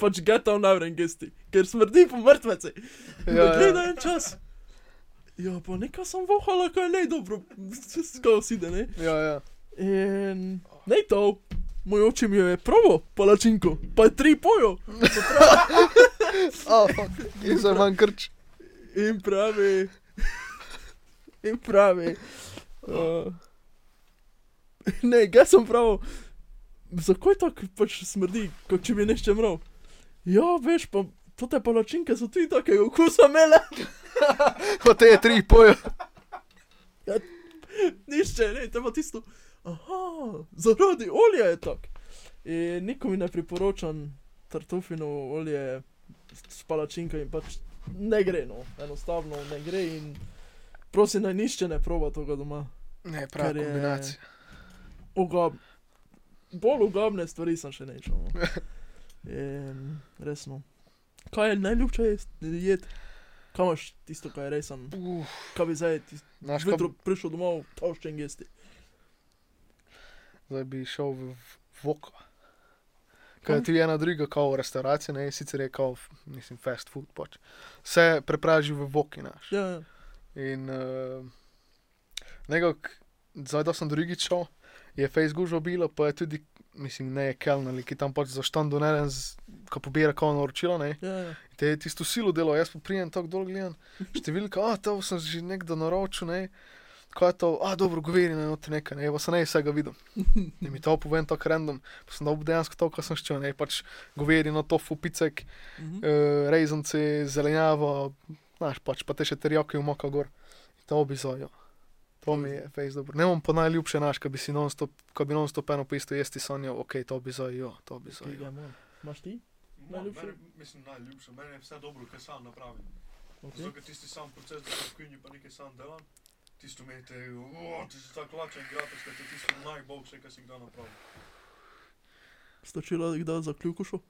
A: pač geta v navren gesti, ker smrdi po mrtveci.
B: Ja,
A: Ja,
B: ja.
A: Gledaj en čas. Ja, pa nekaj sem vohala, kaj ne dobro, skoro si da ne.
B: Ja, ja.
A: In ne to, moj oče mi jo je probo palačinko, pa je tri pojo.
B: Oh, in zdaj manj krč.
A: In pravi, in pravi. Uh, ne, ga sem prav. Zakaj tako pač smrdi, kot če bi nešče mrav? Ja, veš, pa to te palačinke so tudi take okusa mele.
B: Kot je tri pojo.
A: Nišče, ne, te pa tisto. Aha, zaradi olja je tak. In nikomu ne priporočam tartufino olje s palačinkami, pač ne gre, no, enostavno ne gre in prosim naj nišče ne proba tega doma.
B: Ne, prava
A: Ker je-
B: kombinacija.
A: Ugob... Bolj ugobne stvari sem še no. nečel. Um, resno. Kaj je najljubše jest- jed? Kaj imaš tisto, kar je res sem?
B: Uf,
A: Kaj bi zdaj tisto?
B: Znaš, kaj
A: Jutro prišel domov, oščen gesti.
B: zdaj bi šel v v voko.
A: Hm?
B: Kaj ti je ena druga, kot restauracija, ne, sicer je kot, mislim, fast food pač. Se prepraži v voki naš.
A: Ja, ja.
B: In uh, nekako, zdaj da sem drugič šel, je Facebook žobilo, pa je tudi, mislim, ne je kelner, ki tam pač zaštando ne en, ki pobira kao naročilo, ne.
A: ja, ja.
B: Te je tisto silo delo, jaz pa prijem tako dol gledam, številka, a to sem že nekdo naročil, ne. Kaj je to, a dobro, govori na noter nekaj, ne, pa se ne vsega vidim. Ne mi to povem tako random, pa sem dobil dejansko to, kar sem šel, ne, pač govori na tofu, picek,
A: Mhm.
B: uh, rezance, zelenjavo, znaš pač, pa te še terjaki v moka gor. In to bi zojo. To mi je fejs dobro. Ne bom pa najljubše naš, ko bi si non-stop, ko bi non-stop eno pisto jesti sanjal, ok, to bi zojo, to bi
A: Ki ga
B: zojo.
A: imam. Imaš ti? Najljubše?
C: Najljubše? Meni, mislim najljubše, meni je vse dobro, kaj sam napravim. Zato,
A: Okay.
C: ker tisti sam proces, da se v kuhinji pa nekaj sam delam, tisto mi je te, "O, ti si tako lačen, gratis, da ti je tisto najboljše, kar si kdaj napravil.
A: Stočila kdaj za kljukušo?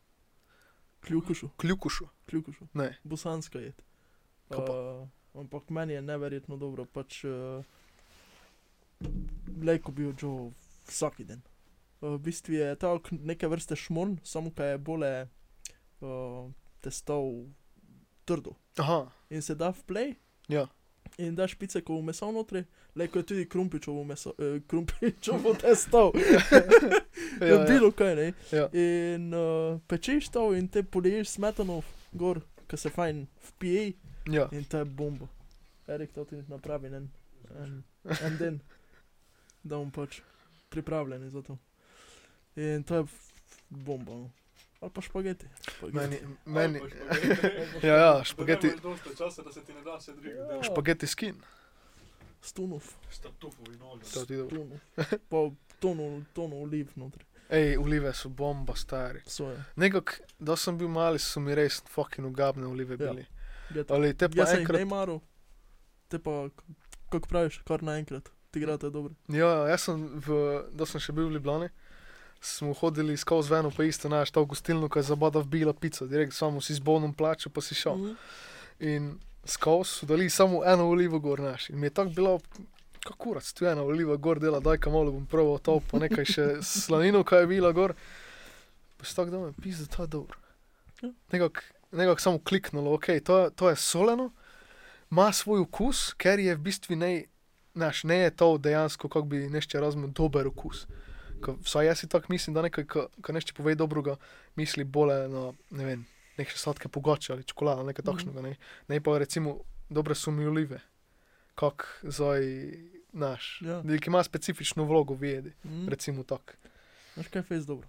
A: Kljukušo,
B: Kljukušu,
A: kljukušo.
B: ne.
A: Bosanska jed.
B: Kaj pa?
A: Uh, ampak meni je neverjetno dobro, pač uh, lejko bi odžel vsak dan. Uh, v bistvu je tako neke vrste šmon, samo kaj je bolje eh, uh, testov trdo.
B: Aha,
A: in se da v play.
B: Ja.
A: In daš picekovo meso notri, leko je tudi krumpičevo meso, eh, krumpičevo testo,
B: ja,
A: ja,
B: ja.
A: bilo kaj ne.
B: Ja.
A: In uh, pečeš to in te poliješ smetanov gor, ki se fajn vpije
B: ja.
A: in to je bomba. Erik to ti napravi en, en, en den, da bom pač pripravljen za to. In to je f- bomba. no. Ali pa špageti. špageti.
B: Meni, meni,
C: Ali pa špageti.
B: ja, ja,
C: Da
B: špageti, Ja.
C: nemaš dosta časa, da se ti ne da se drugega dela.
B: špageti skin,
A: Stunov.
C: Statufovi noge.
B: to ti dobro.
A: Tono. Pa tono, tono oliv notri.
B: Ej, olive so bomba stari.
A: Soja.
B: Nekako, da sem bil mali, so mi res fucking ugabne olive
A: Ja.
B: bili.
A: Geta.
B: Ali te pa
A: Jaz sem jih
B: enkrat
A: ne maral. Te pa, k- kako praviš, kar naenkrat. Ti igrate dobro.
B: Ja, jaz sem, v, da sem še bil v Ljubljani, smo hodili skozi eno pa isto, znaš, ta gostilno, ki je zabada vbila pico, direkt samo si z bonom plačal, pa si šel.
A: Mhm.
B: In skozi so dali samo eno olivo gor, znaš. In mi je tako bilo, kako rac, tu ena oliva gor dela, daj kam malo bom proval to, pa nekaj še slanino, kaj je bila gor. Pa si tako doma, pisa, to je dobro.
A: Ja.
B: Nekako nekak samo kliknulo, ok, to, je- to je soleno, ima svoj okus, ker je v bistvu ne, znaš, ne je to dejansko, kako bi nešče razumel, dober okus. Ko, vsaj jaz si tako mislim, da nekaj, kar nešče pove dobrega, misli bolje na ne vem, neke sladke pogače ali čokolado, nekaj
A: Mhm.
B: takšnega. Ne, ne pa recimo dobre sumljive, kak zdaj naš.
A: Ja.
B: Ki ima specifično vlogo v jedi,
A: Mhm.
B: recimo tako.
A: Veš kaj je fez dobro?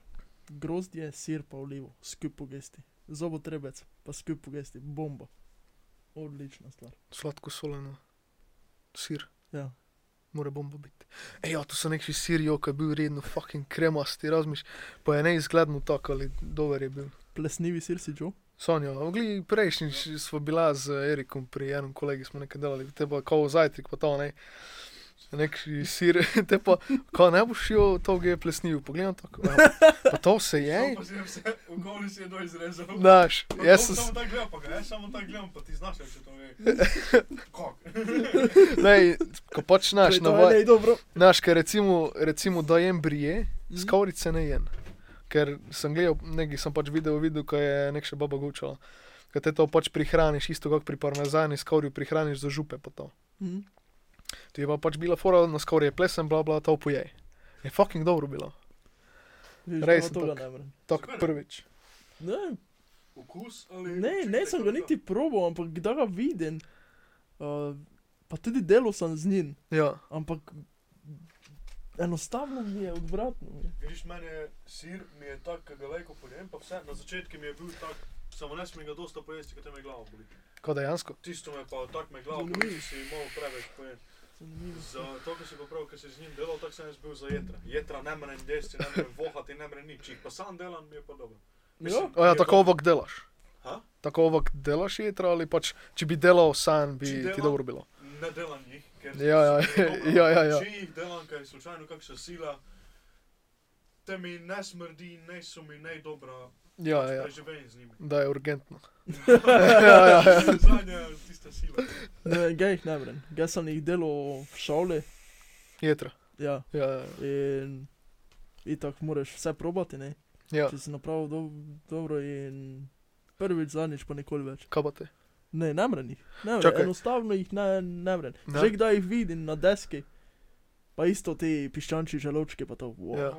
A: Grozdje, sir pa olivo, skup pogesti. Zobotrebec, pa skup pogesti. Bomba. Odlična stvar.
B: Sladko soleno, sir.
A: Ja.
B: Mora bomba biti. Ej, ja, tu so neki sirijo, ki je bil redno fucking kremasti, razmiš, pa je neizgledno tako, ali dober je bil.
A: Plesnivi sir si Joe.
B: Sonja, ogli
A: Ja.
B: prejšnjič smo bila z Erikom pri enem kolegi, smo nekaj delali, te pa kao zajtrk, pa to ne, nek sir, te pa, ko ne boš jo to ge plesnil, pogledam to, ko, ja, pa to se je,
C: Pa si je vse, v koli si je do izrezal.
B: znaš,
C: Pa
B: jaz sem,
C: to Samo tako gledam, pa ga, jaz samo tako gledam, pa ti znaš, če to ve. Kok.
B: ne, ko pač
C: Torej,
B: naš, navaj,
A: Ne, dobro.
B: naš, ker recimo, recimo da jem brije,
A: Mhm.
B: s kaurice ne jem, ker sem gledal, nekaj sem pač video videl, ko je nek še baba gučala, ker te to pač prihraniš, isto kot pri parmezani, s kaurijo prihraniš za župe pa to.
A: Mhm.
B: Ti je pa pač bila fora, na skoraj je plesen, bla bla, to pojej. Je fucking dobro bilo.
A: Vidiš,
B: Res
A: da
B: sem
A: tega
B: tak.
A: ne morem.
B: Tako prvič.
A: Ne,
C: Okus ali...
A: Ne,
C: občutek
A: ne sem ga
C: ali to?
A: niti probal, ampak kdaj ga vidim. Uh, pa tudi delal sem z njim,
B: Ja,
A: ampak enostavno mi je odvratno. mi je.
C: Vidiš, meni je sir, mi je tak, ki ga lejko pojem, pa vse, na začetku mi je bil tak, samo ne smem ga dosta pojesti, ker te me glava boli.
B: kot dejansko.
C: Tisto me pa tak me glava boli,
A: Zanimivo.
C: če si imel preveč pojesti.
A: Zanimivo.
C: Za to, kar si pa prav, ker si z njim delal, tako sem jaz bil za jetra. Jetra ne mrem desni, ne mrem vohati, ne mrem nič, Če jih pa sam delam, mi je pa dobro.
A: Ja,
B: O ja,
C: mi je
B: tako
C: dobro.
B: ovak delaš.
C: Ha?
B: Tako ovak delaš jedra ali pač, če bi delal sam, bi
C: Če
B: ti
C: delam-
B: dobro bilo.
C: ne delam jih, ker
B: Ja, ja,
C: so preobrazne.
B: ja, ja, ja.
C: Če jih delam, kaj slučajno kakšna sila, te mi ne smrdi, ne so mi ne dobra,
B: Ja, ja, ja.
C: preživljenje z njimi.
B: Da je urgentno.
C: Zadnja tista sila.
A: Ne, gej jih ne brem. Gej sem jih delal v šoli.
B: Jetra.
A: Ja.
B: Ja, ja,
A: In, in tako moraš vse probati, ne?
B: ja.
A: Če si napravil do, dobro in prvič, zadnjič pa nikoli več.
B: kabate.
A: Ne, ne mrem jih. Ne mrem.
B: Čakaj.
A: Enostavno jih ne, ne mrem.
B: Ne.
A: Že kdaj jih vidim na deski, pa isto ti piščančji želočki, pa to. Wow.
B: Ja.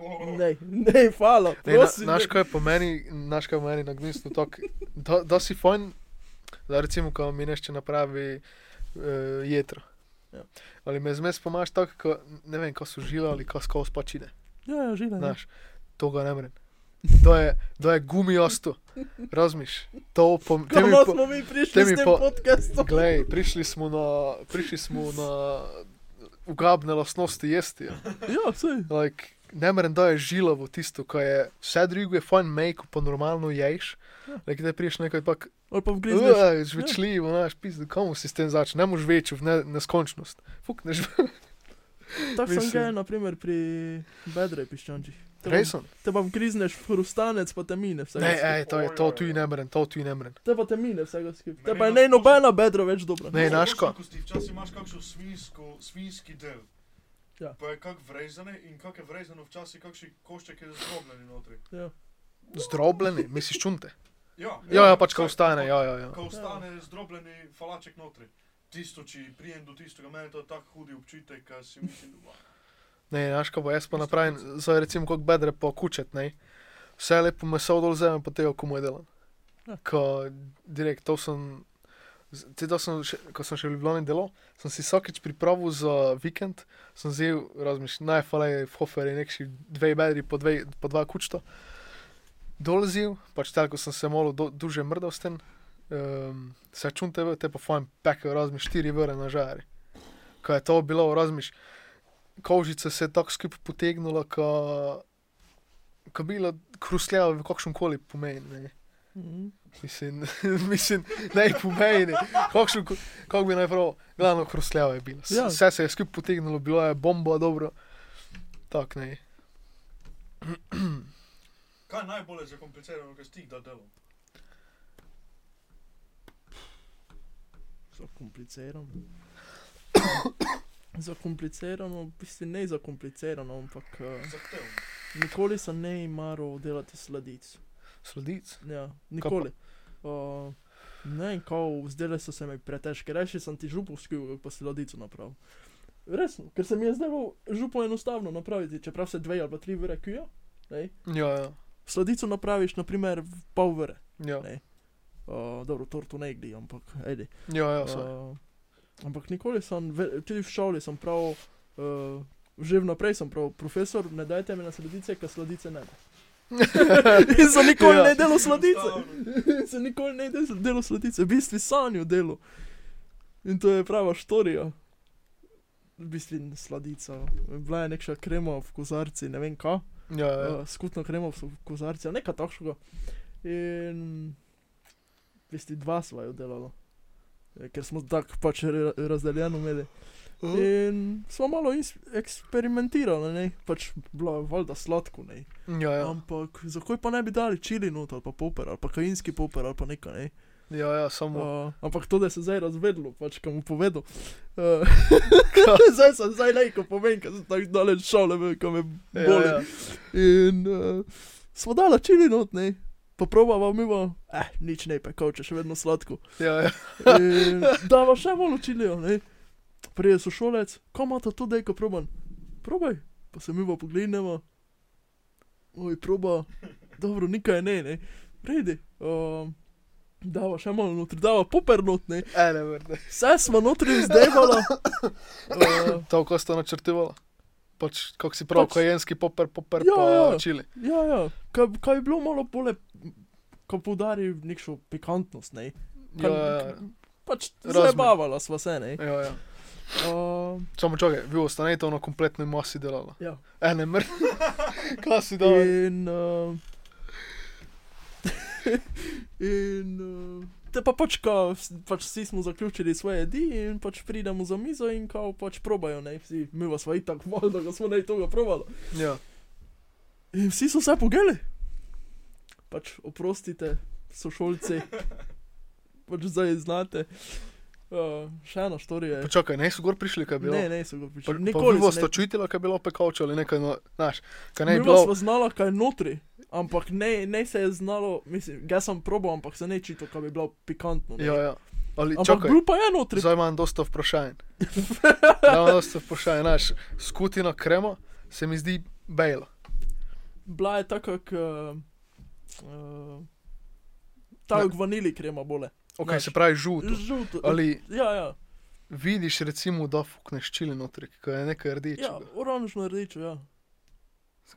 A: Ne, ne, hvala.
B: Ej, na,
A: Prosim,
B: naš
A: ne.
B: kaj po meni, naš kaj po meni na gnislu tak, da, da si fajn, da recimo, ko mi nešče napravi uh, jetro.
A: Ja.
B: Ali me zmes pomaš tako, ko, ne vem, ko so žila ali ko skozi pačine.
A: Ja, ja, žive. ne.
B: Znaš, to ga ne mrem. To je, to je gumijasto, razmiš. To pom, te mi
A: Kako
B: po,
A: smo mi prišli
B: te
A: s
B: mi
A: tem
B: po-
A: podcastom?
B: glej, prišli smo na, prišli smo na ugabne lastnosti jesti. Ja.
A: Ja, vse.
B: Like, ne morem, da je žilavo tisto, ko je vse drugo, je fajn make, pa normalno ješ.
A: Ja.
B: Like, da priješ nekaj, pa
A: Ali pa vgrizneš.
B: je žvečljivo, znaš, pizdu, komu si s tem začne, ne moreš več v ne, neskončnost. Fuk, ne žvečljivo.
A: Tako sem
B: Mislim.
A: ga, na primer, pri bedre piščančih. Te pa-
B: Rejson?
A: Te pa grizneš v hrustanec, pa te mine vsega.
B: Ne, e,
A: skupaj.
B: ej, to je, to tu ne morem, to tu ne morem.
A: Te pa te mine vsega skupaj. Te
C: Meni
A: pa
C: na-
A: ne nobena bedra več dobra.
B: Ne, naško.
C: Ko si včasih imaš kakšen svinsko, svinski del.
A: Ja.
C: Pa je kak vrezane in kak je vrezano včasih kakšen košček je zdrobljen notri.
A: Ja.
B: Zdrobljeni, misliš čunte?
C: Ja,
B: Ja, ja, pač ko
C: vsaj-
B: ostane, ja, ja, ja.
C: Ko ostane zdrobljeni falaček notri. Tisto, če prijem do tistega, meni to je tako hudi občutek, da si mislim, da
B: Ne, znaš, ko pa jaz pa napravim, zdaj recimo kot bedre po kučet, ne. Vse lepo meso dol vzamem, pa tega, ko mu je delam.
A: Ja.
B: Ko direkt, to sem, z- te to sem, še, ko sem še v Ljubljani delal, sem si vsakeč pripravil za vikend, sem vzel, razmišljam, najfale v Hoferju nekši dve bedri po, dve, po dva kučta. Dolazil, pač tako sem se malo do, duže mrdal s tem, um, se čun tebe, te pa fajn pekel, razmišljam, štiri vre na žari. Ko je to bilo, razmišljam, kožica se je tako skupaj potegnila, ko, ko bila krusljava v kakšnem koli pomeni. ne.
A: Mhm.
B: Mislim, mislim ne pomeni, kakšen ko- kako bi naj prav, glavno krusljava je bila.
A: Ja.
B: Ja. Vse se je skupaj potegnilo, bila je bomba, dobro. Tak ne.
C: Kaj je najbolje zakomplicirano, kar stik da delo?
A: Zakomplicirano. zakomplicirano, v bistvu ne zakomplicirano, ampak uh,
C: Zahtevno.
A: nikoli sem ne maral delati sladic.
B: Sladic.
A: Ja, nikoli. Uh, ne vem, kako zdele so se mi pretežke. Reši sem ti župo skil, kako pa sladico napravil. Resno, ker se mi je zdelo župo enostavno napraviti, čeprav se dve ali pa tri vre kujo.
B: Ja, ja.
A: Sladico napraviš, naprimer, v pol vre.
B: Ja,
A: Ne. Uh, dobro, tortu ne gre, ampak ajde.
B: ja, ja uh,
A: Uh, ampak nikoli sem, ve- tudi v šoli sem prav, uh, že vnaprej sem prav, profesor, ne dajte mi na sladice, ker sladice ne. In sem nikoli ja.
B: Ja.
A: ne delal sladice,
C: Enostavno.
A: In sem nikoli ne del- delal sladice, v bistvu sanju delo. In to je prava štorija. V bistvu sladica, bila je neka krema v kozarci, ne vem kaj
B: ja, ja.
A: uh, skutno kremo v kozarcu, ali nekaj takšnega. In veste, dva sva jo delala, Eh, ker smo tako pač ra- razdeljeno imeli.
B: Uh,
A: In smo malo ins- eksperimentirali, ne? pač bilo je valjda sladko. Ne?
B: ja, ja.
A: Ampak zakaj pa ne bi dali čili not ali pa poper ali pa kajinski poper ali pa nekaj. Ne?
B: ja, ja, samo.
A: Uh, ampak to, da se je zdaj razvedlo, pač kam mu povedal. Uh, zdaj sem zdaj neko povem, ker sem tako daleč šel, kam me
B: Ja,
A: boli.
B: ja.
A: In uh, smo dala čili not, ne. Poprobava mi bo, eh, nič ne pekoče, še vedno sladko.
B: Ja, ja.
A: In dava še malo čilijo, ne. Prije so šolec, komata to dejko proban. Probaj, pa se mi bo poglednemo. Oj, proba, dobro, nikaj ne, ne. Redi, um, dava še malo notri, dava poper not, ne.
B: Ene vrde.
A: Vse smo notri vzdevala. Uh,
B: To, ko ste načrtovali. Pač, kako si prav,
A: Pač-
B: pač... kojenski poper, poper,
A: Ja,
B: ja, pa
A: ja.
B: ja. čili.
A: Ja, ja. Kaj, kaj je bilo malo bolje, ko podari neko pikantnost, ne?
B: Ja,
A: Kaj,
B: ja, ja.
A: Pač
B: Razumem.
A: zabavala sva se, ne?
B: Ja, ja.
A: Uh,
B: Samo čakaj, vi ostanete ono kompletno masi delala.
A: ja. E-
B: E, ne mrk. Klasi da.
A: ehm, In... Uh, in... Uh, Te pa pač, ka, vs- pač vsi smo zaključili svoje jedi in pač pridemo za mizo in kao pač probajo, ne, vsi, mi vas pa itak malo, da ga smo ne tega probali.
B: Ja.
A: In vsi so se pogeli. Pač oprostite, sošolci, pač zdaj znate. Uh, še ena štorija je.
B: Počakaj, ne so gor prišli, Pač, kaj je bilo.
A: Ne, ne, so ga
B: Pa,
A: pričali.
B: Nikoli
A: Nikoli
B: pa
A: se
B: ste čutili, kaj je bilo pekoče ali nekaj, no, znaš, kaj ne
A: ne
B: je
A: bi bilo.
B: bilo.
A: Sva znala, kaj je notri, ampak ne, ne se je znalo, mislim, jaz sem probal, ampak se ne čito, kaj bi bilo pikantno. Ne.
B: Ja, ja. Ali
A: ampak
B: čakaj,
A: bil pa je notri.
B: zdaj imam dosta vprašanj. Zdaj imam dosta vprašanj, znaš, skutina krema se mi zdi bejla.
A: Bila je tako, kak, uh, uh, tako vanili krema bole.
B: Ok,
A: Znaš.
B: se pravi žuto.
A: Žuto.
B: Ali
A: Ja, ja,
B: vidiš recimo, da fukneš čili notri, kaj je nekaj
A: ja
B: rdečega.
A: oranžno rdečo, ja.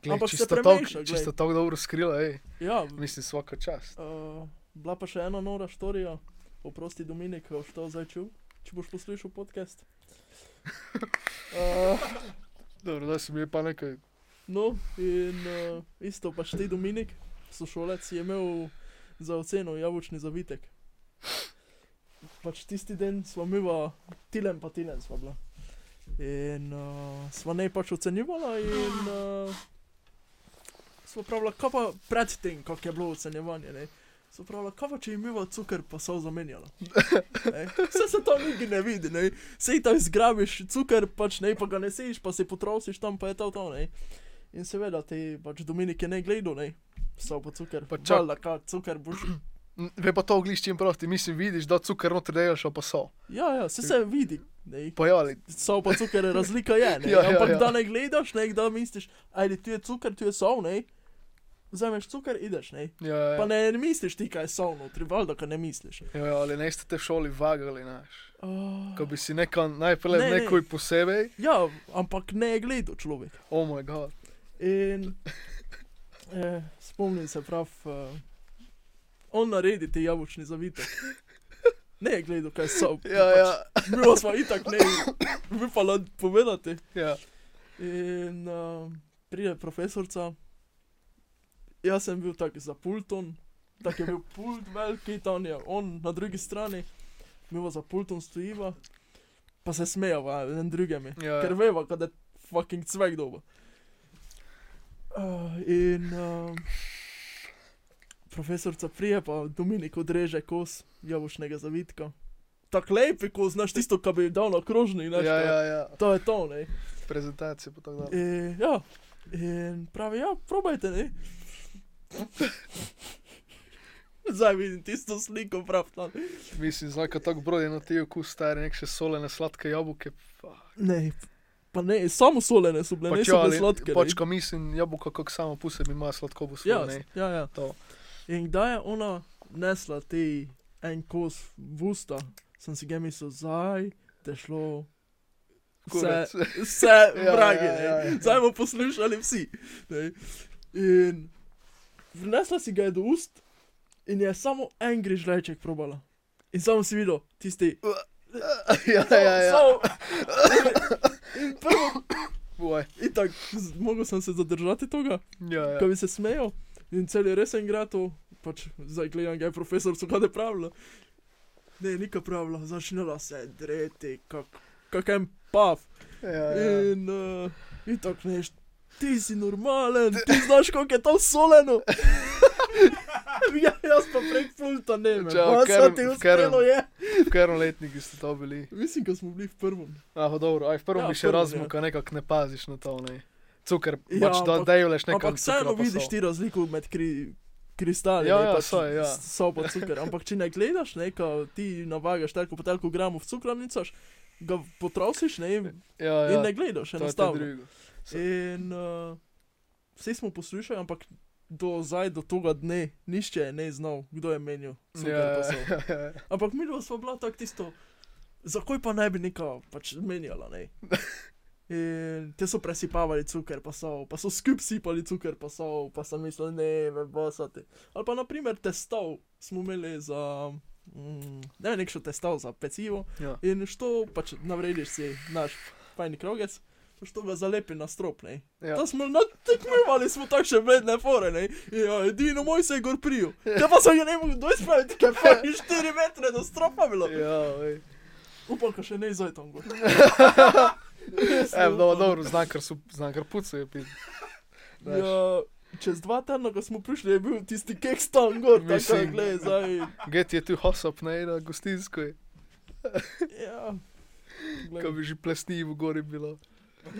B: Glej,
A: Ampak se
B: čisto
A: premeša, glej.
B: tako- Čisto tako dobro skrila, ej.
A: ja
B: Mislim, svaka čast.
A: Uh, bila pa še ena nora štorija, oprosti Dominik, boš to zdaj čul, če boš poslušal podcast. Uh,
B: Dobro, da si mi je pa nekaj.
A: no, in uh, isto pač ti Dominik, sošolec, je imel za oceno javučni zavitek. Pač tisti dan smo mi v Tilen, pa Tilen smo bila. In uh, smo ne pač ocenjevala in uh, smo pravila, kaj pa pred tem, kako je bilo ocenjevanje. Ne? So pravila, kaj pa če jim je cukor pa so zamenjala. Ne? Vse se to nigdy ne vidi, ne? sej tam zgrabiš cukor, pač ne, pa ga ne sejš, pa se potrosiš tam, pa je to to. Ne? In seveda ti pač Dominik je ne gledal, ne, so pa cukor.
B: Pa čak-
A: Valjda, kaj, cukor boš
B: Ve pa to oglišče in prosti, mislim, vidiš, da cukor notri delaš, a pa so. ja,
A: Ja, ja, se se vidi. Ne.
B: Pojali.
A: Sol pa cukor, razlika je. Ne.
B: Ja, ja,
A: Ampak
B: ja.
A: da ne gledaš, ne, da misliš, ajde, tu je cukor, tu je sol, ne. Vzameš cukor, ideš, ne.
B: Ja, ja,
A: Pa
B: ja.
A: ne, ne misliš ti, kaj je sol, no, trivalda, kaj ne misliš.
B: Ja, ja, ali ne ste te v šoli vagali, znaš.
A: Uh,
B: Ko bi si neka, najprej
A: Ne,
B: ne,
A: ne.
B: nekoj posebej,
A: ja, ampak ne je gledal človek.
B: oh moj god.
A: In eh, spomnim se prav, eh, on naredi ti jabučni zavitek. Ne je gledal, kaj je sol. pač,
B: Ja, ja,
A: Mi pa smo itak ne, mi pa lahko povedati.
B: ja.
A: In uh, pride profesorica, jaz sem bil tak za pultom, tako je bil pult veliki, tam je on na drugi strani, mi pa za pultom stojiva, pa se smejava en drugemu,
B: Ja, ja.
A: ker veva, kada je fucking cvek dobo. Uh, in uh, profesorica prije, pa Dominik odreže kos javušnega zavitka. Tako lepi kos, znaš tisto, kar bi dal na krožni, znaš. no.
B: Ja,
A: to-
B: ja, ja.
A: To je to, ne.
B: Prezentacije pa tako dalje.
A: E, ja, in pravi, ja, probajte, ne. Zdaj vidim tisto sliko, prav no. tam.
B: Mislim, znaka tako broj, eno ti okus stari, nek še solene sladke jabuke. Pa,
A: Ne, pa ne, samo solene so bile, ne so bile sladke.
B: pač
A: ne.
B: ko mislim, jabuka kako samo po sebi ima sladkobo
A: ja,
B: svoje, ne.
A: ja, ja.
B: To.
A: In kdaj je ona nesla ti en kos v usta, sem si ga mislil, zdaj te šlo. Vse,
B: Kurec.
A: vse
B: Ja,
A: vragi,
B: ja, ja,
A: ne.
B: ja.
A: zdaj bomo poslušali vsi. Ne. In vnesla si ga je do ust in je samo en grižljajček probala. In samo si videl tisti.
B: ja, ja, ja.
A: Samo- In prvo,
B: Boj.
A: in tako, mogel sem se zadržati tega,
B: Ja, ja.
A: ko bi se smejal. In cel je resen grato, pač zdaj gledam, kaj je profesor, so kaj pravila. Ne, nika pravila, začnela se dreti, kak, kak en pav.
B: ja, ja.
A: In, uh, in tako neš, ti si normalen, ti znaš, koliko je to soleno. ja, jaz pa prek pulta ne vem,
B: Čao,
A: kaj se
B: Karen,
A: ti
B: Karen.
A: uspelo je.
B: V katerem letniku ste to bili?
A: Mislim, ko smo bili v prvem.
B: Aha, dobro, aj v prvem
A: Ja,
B: ja, bi
A: v
B: še
A: prvem,
B: razmuka, nekako ne paziš na to, ne. Cukor,
A: Ja,
B: ja, pač da
A: ampak-
B: dejuješ nekaj.
A: Ampak vseeno vidiš ti razliko med kri, kristali.
B: Ja,
A: ne,
B: ja,
A: pač
B: saj, ja.
A: s- So pa cukor. Ampak če ne gledaš, ne, ko ti navagaš tako po toliko gramov v cukrovnico, ga potrosiš ne, in
B: Ja, ja.
A: ne gledaš,
B: to je to
A: enostavno.
B: drugo. So-
A: In uh, vsi smo poslušali, ampak do zdaj, do tega dne, nišče je ne znal, kdo je menil.
B: Ja, ja,
A: Yeah.
B: ja, ja.
A: Ampak mi dva smo bila tako tisto, zakaj pa ne bi neka pač menjala. Ne? In te so presipavali cukor, pa so, pa so skup sipali cukor, pa so, pa sem mislil, ne, me bosati. Ali pa naprimer testov smo imeli za, mm, ne vem, nek še testov za pecivo
B: Ja.
A: in što pač navrediš si naš fajni krogec, Boš to ga zalepi na strop, ne.
B: Ja.
A: To smo na tekmovali, smo takšne vredne fore, ne. Ja, edino moj se je gor prijel.
B: Ja.
A: Te pa sem ga ne mogel doizpraviti, ker je 4 metre do stropa bilo.
B: Ja, ej.
A: Upam, ko še ne izaj tam gor.
B: E, no, dobro, znam, ker, so- znam, ker pucajo. pi- Znaš.
A: Ja, čez dva tedna, ko smo prišli, je bil tisti keks tam gor, tako je,
B: Mislim.
A: gledaj, zdaj.
B: Get je tu hosop, ne, na gostinsko je.
A: Ja. Glej.
B: Kaj bi že plesni v gori bilo.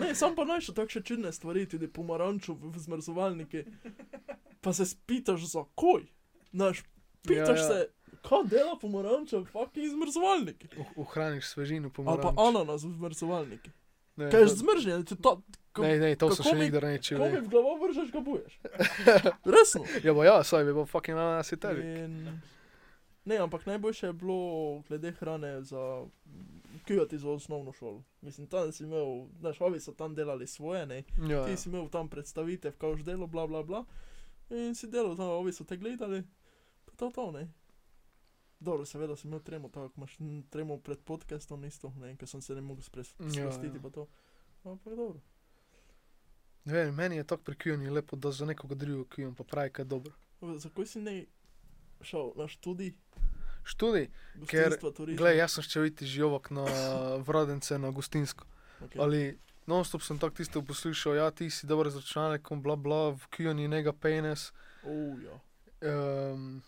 A: Ne, sam pa najšel takšne čudne stvari, tudi pomarančo v v zmrzovalniki. Pa se spitaš, zakoj. Naš, pitaš
B: Ja, ja.
A: ja, ja. se, kaj dela pomaranča v fucking zmrzovalniki.
B: Uh, Ohraniš
A: Ali
B: svežino,
A: pa
B: pomaranč.
A: ananas v zmrzovalniki.
B: Ne,
A: Kaj je
B: to-
A: zmrznjen, ti to,
B: Ne, ne, to sem
A: kako
B: še
A: mi-
B: nikdar nečil.
A: ko mi v glavo vržeš, ga buješ. Resno.
B: Ja, bo ja, saj bi bil fucking ananas tebi.
A: In... Ne, ampak najboljše je bilo glede hrane za kujati za osnovno šolo. Mislim, tam si imel, znaš, ovi so tam delali svoje, ne.
B: Ja, ja.
A: E, Ti si imel tam predstavitev, kaj už delo, bla bla bla. In si delal tam, ovi so te gledali, pa to to ne. Dobro, seveda sem imel tremo, tako kot imaš mm, tremo pred podcastom isto, ne, ker sem se ne mogel spres-
B: Ja,
A: sprostiti, pa
B: ja.
A: to. Ampak dobro.
B: Ne vem, meni je tako pri kujanju lepo, da za nekoga drugega kujam, pa pravi, kaj je dobro.
A: Zakaj si ne šel na študij,
B: Študij,
A: gostinstva, turizma?
B: gledaj, jaz sem šel videti živok na Vradence, na Gostinsko.
A: okay.
B: Ali non-stop sem tako tisto poslušal, ja, ti si dober z računalnikom, bla bla, v kujanju nega penis.
A: Oh, ja.
B: Um,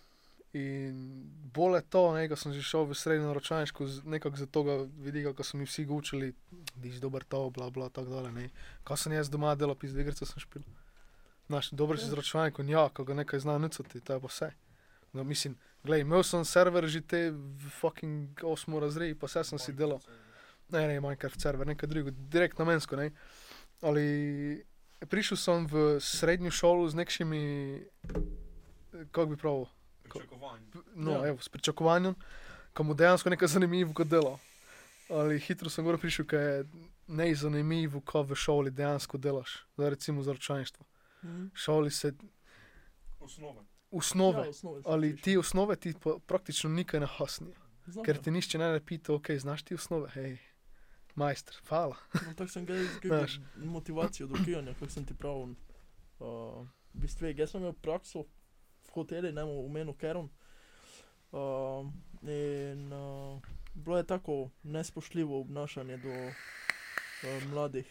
B: in bolje to, nekaj sem že šel v srednjo računalniško, z- nekako z tega vidika, ko so mi vsi ga učili, da je dober to, bla bla, tako dalje. Ne. Ko sem jaz doma delal, pis igrice sem špil. Znaš, dobro si z računalnikom, ja, ko ga nekaj zna nucati, to je pa vse. No, mislim, gledaj, imel sem server že te v fucking osmo razredu, pa vse sem si delal ne, ne, Minecraft server, nekaj drugega, direkt namensko. Ne. Ali prišel sem v srednjo šolo z nekšnimi, kako bi pravil,
C: Pričakovanje.
B: no,
A: Ja.
B: ja. evo, s pričakovanjem, ko mu dejansko nekaj zanimivega dela. Ali hitro sem gor prišel, ker je neizanimivo, ko v šoli dejansko delaš, za recimo za računalništvo.
A: Mhm.
B: V šoli se
C: Osnove.
A: Ja,
B: osnove,
A: osnove se
B: ali
A: učiš.
B: ti osnove ti pa praktično nikaj ne hasnijo,
A: Znam,
B: ker
A: ja.
B: ti nišče ne pita, ok, znaš ti osnove, hej, majster, hvala.
A: No, tako sem gledal
B: Znaš.
A: motivacijo do kijanja, kot sem ti pravil. Uh, v bistvu, je, jaz sem imel prakso v hoteli, ne v imenu Keron. Uh, in uh, bilo je tako nespoštljivo obnašanje do uh, mladih.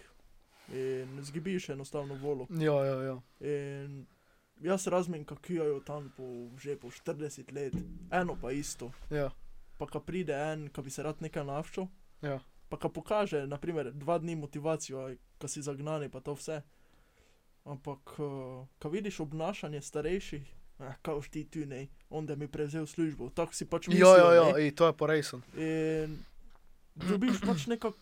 A: In zgibiš enostavno volo.
B: Ja, ja, ja.
A: In jaz razumem, kako jo tam po, že po 40 let, eno pa isto.
B: ja.
A: pa ko pride en, ki bi se rad nekaj navčil.
B: Ja.
A: Pa ko pokaže, naprimer, dva dni motivacijo, ko si zagnani, pa to vse. Ampak, eh, ko vidiš obnašanje starejših, eh, kao ti tu ne, onda mi je prevzel službo, tako si pač misliš.
B: Ja, ja, ja, ej, to je pa resen.
A: In dobiš pač nekako,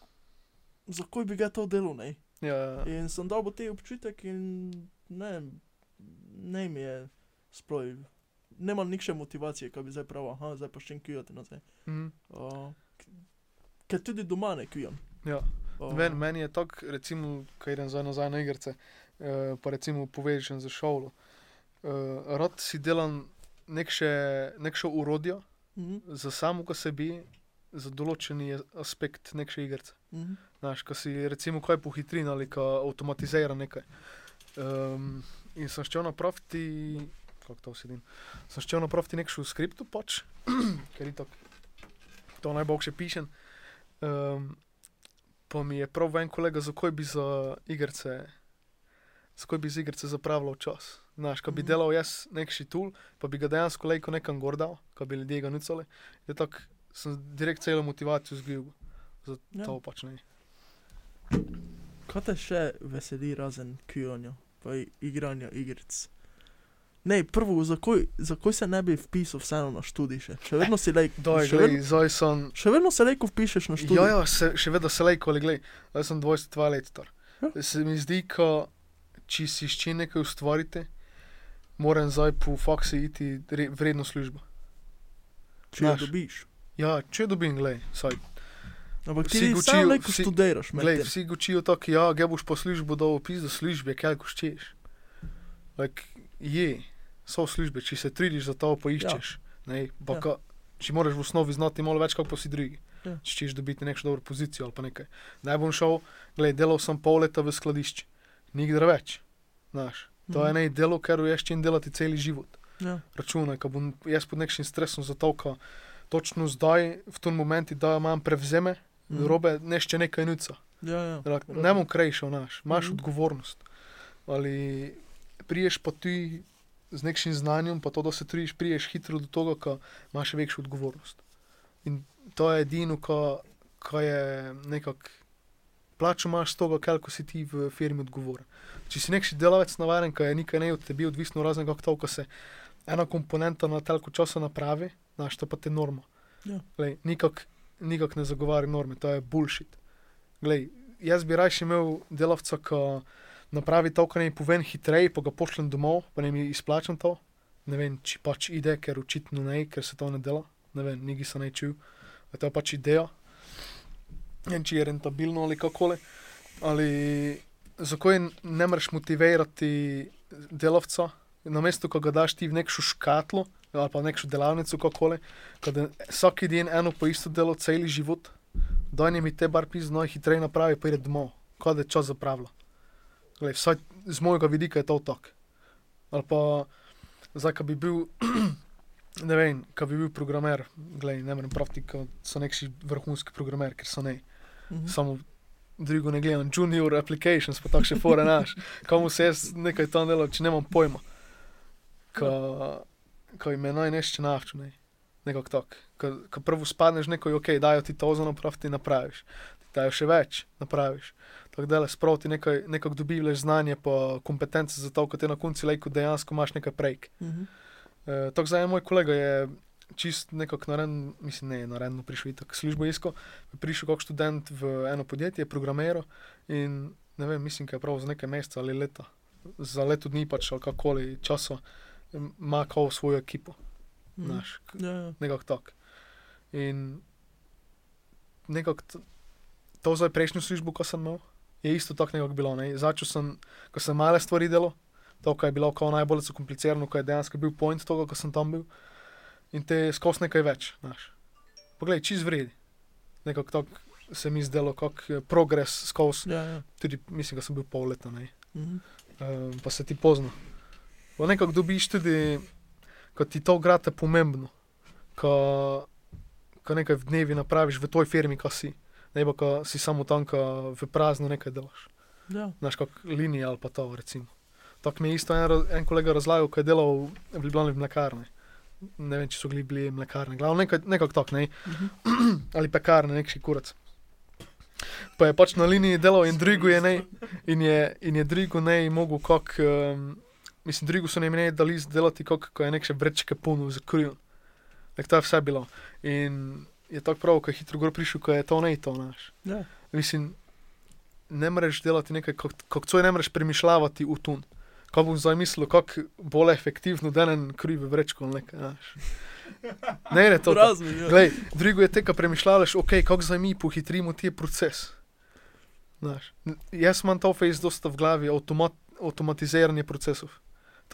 A: zakaj bi ga to delo ne.
B: Ja, ja, ja.
A: In sem dobil te občutek in ne, vem, ne mi je sploh, nemam nikše motivacije, ki bi zdaj pravil, aha, zdaj pa še enkrat nazaj.
B: Mhm.
A: Uh, k- Ker tudi doma ne kujem.
B: ja. Ven, meni je tako, recimo, ko idem zdaj nazaj na igrice, eh, pa recimo povežem za šolo. Eh, rad si delam nek še, nek še urodja
A: Mhm,
B: za samo, ko sebi, za določeni aspekt nek še igrice.
A: mhm,
B: Znaš, ko si recimo kaj pohitrin ali ko avtomatizira nekaj. Um, in sem šel napraviti, kako to sedim, sem šel napraviti nek šel skriptu pač, ker je to najboljše pišem. Um, pa mi je prav en kolega, zakoj bi za igrice, zakoj bi za igrice zapravljal čas. Znaš, ko bi
A: Mhm.
B: delal jaz nek šitul, pa bi ga dejansko lejko nekam gor dal, ko bi ljudje ga nucali, je tako, sem direkt celo motivacijo zgubil.
A: ja.
B: To pač ne.
A: Kaj te še veseli, razen kujanja, pa i- igranja igric? Ne, prvo, zakaj, zakaj se ne bi vpisal vseeno na študij še? Še vedno si lajk.
B: Doj,
A: še,
B: glej,
A: vedno,
B: zdaj sem.
A: še vedno se lajko vpišeš na študij.
B: Ja, ja, se, še vedno se lajko, ali glej, zdaj sem 22 let star.
A: Ja.
B: Se mi zdi, ko če si s čim nekaj ustvarite, moram zdaj po faksu iti re- vredno službo.
A: Če jo
B: znaš.
A: dobiš.
B: Ja, če dobim, glej, saj.
A: Ampak
B: Vsi
A: ti
B: ga
A: vsi
B: učijo,
A: lajko
B: vsi-
A: študiraš,
B: Glej,
A: meni.
B: vsi učijo tako, ja, ge boš po službo dal opis do službe, kaj ko ščeš. Like, je, so službe, če se trudiš za to, poiščeš. Ja. Ne,
A: Ja.
B: pa ja. ka, če moraš v osnovi znati malo več, kot pa vsi drugi.
A: Ja.
B: Če češ dobiti neko dobro pozicijo ali pa nekaj. Naj bom šel, gledaj, delal sem pol leta v skladišču, nikdar več. Znaš, to je
A: Mhm.
B: ne delo, kar veš, čim delati cel život
A: Ja.
B: računaj, ko bom jaz pod nekim stresom zatolka, točno zdaj, v tem momentu, da imam prevzeme, mm. robe, nešče nekaj nuca.
A: mhm. Ja, ja.
B: Rak- Ne bom krajšal naš, imaš mm.
A: Mhm.
B: odgovornost. Ali priješ pa ti z nekim znanjem, pa to, da se trudiš, priješ hitro do tega, ko imaš še večjo odgovornost. In to je edino, ko, ko je nekako. Plačo imaš z tega, koliko si ti v firmi odgovoren. Če si nekši delavec navaren, ki je nekaj ne od tebi odvisno, razen kako to, ko se ena komponenta na telku časa napravi, znaš, to pa te norma.
A: Ja.
B: Glej, nikak, nikak ne zagovarjam norme, to je bullshit. Glej, jaz bi rajši imel delavca, ki napravi to, kar naj povem hitreje, pa ga pošljem domov, pa naj mi izplačam to. Ne vem, če pač ide, ker očitno ne, ker se to ne dela. Ne vem, nigi se ne čuj. A To je pač ideja. Ne vem, če je rentabilno ali kakole. Ali zakaj ne moreš motivirati delavca, na mesto, ko ga daš ti v neko škatlo ali pa v neko delavnico, kakole, kada vsak dan eno pa isto delo cel život, dojne mi te bar pizno hitreje napravi, pa ide domov, kot je čas zapravlja. Glej, vsaj z mojega vidika je to tak. Ali pa zdaj, ko bi bil, ne vem, ko bi bil programer, glej, ne morem praviti, ko so neki vrhunski programer, ker so ne
A: Mhm.
B: samo drugo ne gledam, junior applications, pa tako še fore naš, komu se jaz nekaj tam delo, če nemam pojma. Ko, ko ime naj nešče nafču, ne. nekako tako. Ko, ko prvo spadneš nekaj, ok, dajo ti to za naprav, ti napraviš, ti dajo še več, napraviš. Tako da le sproti nekaj, nekako dobivaš znanje, pa kompetence za to, kot je na koncu lejko dejansko imaš nekaj prejk.
A: Mhm.
B: E, tako zdaj, en moj kolega je čist nekako naren, mislim, ne, naravno prišel itak službo isko, prišel kot študent v eno podjetje, programiral in ne vem, mislim, da je prav za nekaj meseca ali leta, za leto dni pač ali kakoli časa, m, ima kao svojo ekipo,
A: Mhm.
B: znaš, k-
A: Ja, ja.
B: nekako tako. In nekako t- to zdaj prejšnjo službo, ko sem imel, je isto tako nekako bilo. Ne? Začel sem, ko sem male stvari delal, to, kar je bilo kao najbolj zakomplicirano, kar je dejansko bil point tega, ko sem tam bil. In te skos nekaj več, znaš. Poglej, čez vredi. Nekako tako se mi zdelo, kako je progres skos,
A: ja, ja.
B: tudi mislim, da sem bil pol leta, ne?
A: Mhm.
B: Ehm, pa se ti pozna. Pa nekako dobiš tudi, ko ti to grate pomembno, ko, ko nekaj v dnevi napraviš v toj firmi, ko si. Ne pa, ko si samo tam, ko v prazno nekaj delaš.
A: ja.
B: Znaš, kak linija ali pa to, recimo. Tako mi je isto en, raz- en kolega razlagal, ko je delal v Ljubljani v mlekarni. Ne vem, če so bili, bili mlekarne, glavno nekako nekak tak, ne?
A: Mhm.
B: ali pekarne, neki kurac. Pa je pač na liniji delal in drugo je ne, in je, in je drugo ne mogel kak, um, mislim, drugo so nam ne dali delati kak, ko je nek še brečke polno zakril. Tak to je vse bilo. In je tako prav, ko je hitro gor prišel, ko je to ne to naš.
A: Ja.
B: Mislim, ne moreš delati nekaj, kako coj ne moreš premišljati v tun. Ko bom zdaj mislil, kako bolj efektivno denen krivi vrečko ali nekaj, znaš. Ne, ne, to. tako.
A: Razmi, ja.
B: Glej, drugo je te, ko premišljaš, ok, kako zdaj mi pohitrimo ti proces. Znaš, n- jaz imam to face dosta v glavi, automat, avtomatiziranje procesov.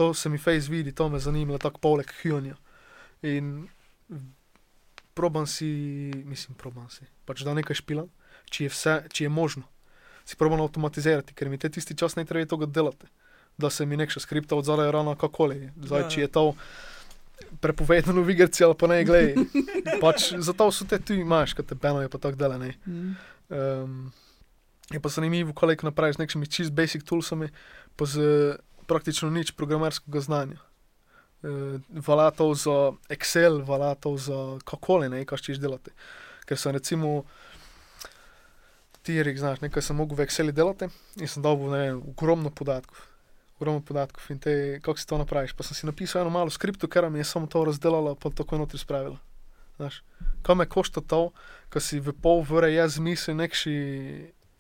B: To se mi face vidi, to me zanima, tako poleg hionja. In proban si, mislim, proban si, pač da nekaj špilam, če je, vse, če je možno. Si proban avtomatizirati, ker mi te tisti čas ne treba tega delati. Da se mi nekša skripta odzadajo rano kakoli. Zdaj,
A: Ja,
B: če
A: ja.
B: je to prepovedano v igrici ali pa ne, glej. Pač, zato so te tu imaš, kot te peno je pa tako dela. Ne.
A: Mhm.
B: Um, je pa zanimivo, koliko napraviš z nekimi čist basic toolsami, pa z praktično nič programerskega znanja. Uh, valatov za Excel, valatov za kakoli, ne, kaj češ delati. Ker sem recimo tirik, znaš, nekaj sem mogel v Excelu delati in sem dobil, ne vem, ogromno podatkov. Ogromno podatkov in te, kako si to napraviš. Pa sem si napisal eno malo skripto, ker mi je samo to razdelala, pa tako notri spravila. Znaš, kaj me košta to, ko si v pol ure jaz mislim nekši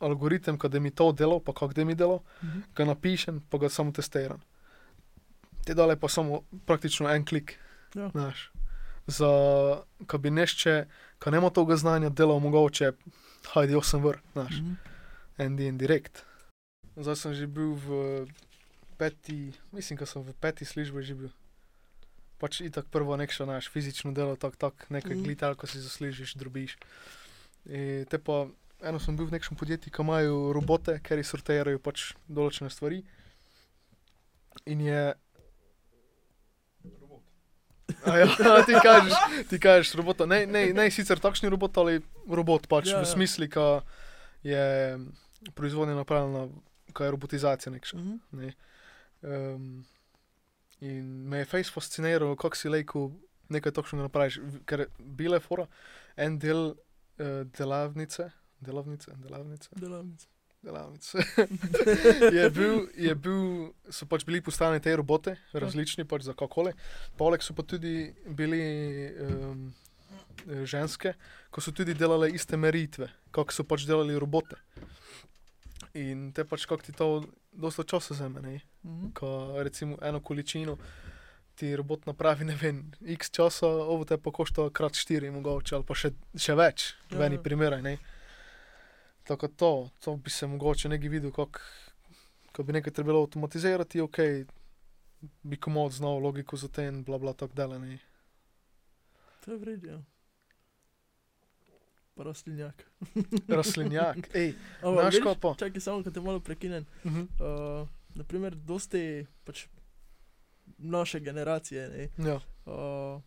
B: algoritem, ko da mi to delo, pa kako da mi delo,
A: Mhm.
B: ga napišem, pa ga samo testiram. Te dole pa samo praktično en klik.
A: Ja.
B: Znaš, za, ko bi nešče, ko nema toga znanja, delo mogoče, hajde 8 ur, znaš,
A: Mhm.
B: en dan direkt. Zdaj sem že bil v peti, mislim, da sem v peti službi že bil. Pač itak prvo nekšo naš fizično delo, tako tak, nekaj
A: Mhm.
B: mm. glitar, ko si zaslužiš, drobiš. E, te pa, eno sem bil v nekem podjetju, ki imajo robote, ker jih sortirajo pač določene stvari. In je.
C: Robot.
B: A ja, ti kažeš, ti kažeš robota. Ne, ne, ne sicer takšni robot, ali robot pač
A: Ja,
B: ja,
A: ja.
B: v smislu, ki je proizvodnja napravljena, kaj je robotizacija nekša.
A: Mhm.
B: Ne. Um, in me je Face fasciniral, kako si lajko nekaj takšnega napraviš. V- Ker bila je fora, en del uh, delavnice, delavnice, delavnice,
A: Delavnica.
B: delavnice. je bil, je bil, so pač bili postavljeni te robote, različni pač za kakole. Poleg so pa tudi bili um, ženske, ko so tudi delale iste meritve, kako so pač delali robote. In te pač, kako ti to, dosta časa zame, ne?
A: Mhm.
B: ko recimo eno količino ti robot napravi, ne vem, x časa, ovo te pa košta krat štiri, mogoče ali pa še, še več,
A: Ja,
B: v eni
A: ja.
B: primeri. ne. Tako to, to bi se mogoče neki videl, kako ko bi nekaj trebalo avtomatizirati, ok, bi komod znal logiko za ten, bla bla tako dalje. ne.
A: To je vredno. Pa rastlinjak.
B: Rastlinjak, ej,
A: Ampak
B: Znaš,
A: vidiš,
B: kaj pa?
A: Čakaj, samo, da te malo prekinem.
B: mhm,
A: Uh, naprimer, dosti pač naše generacije, ne,
B: ja,
A: uh,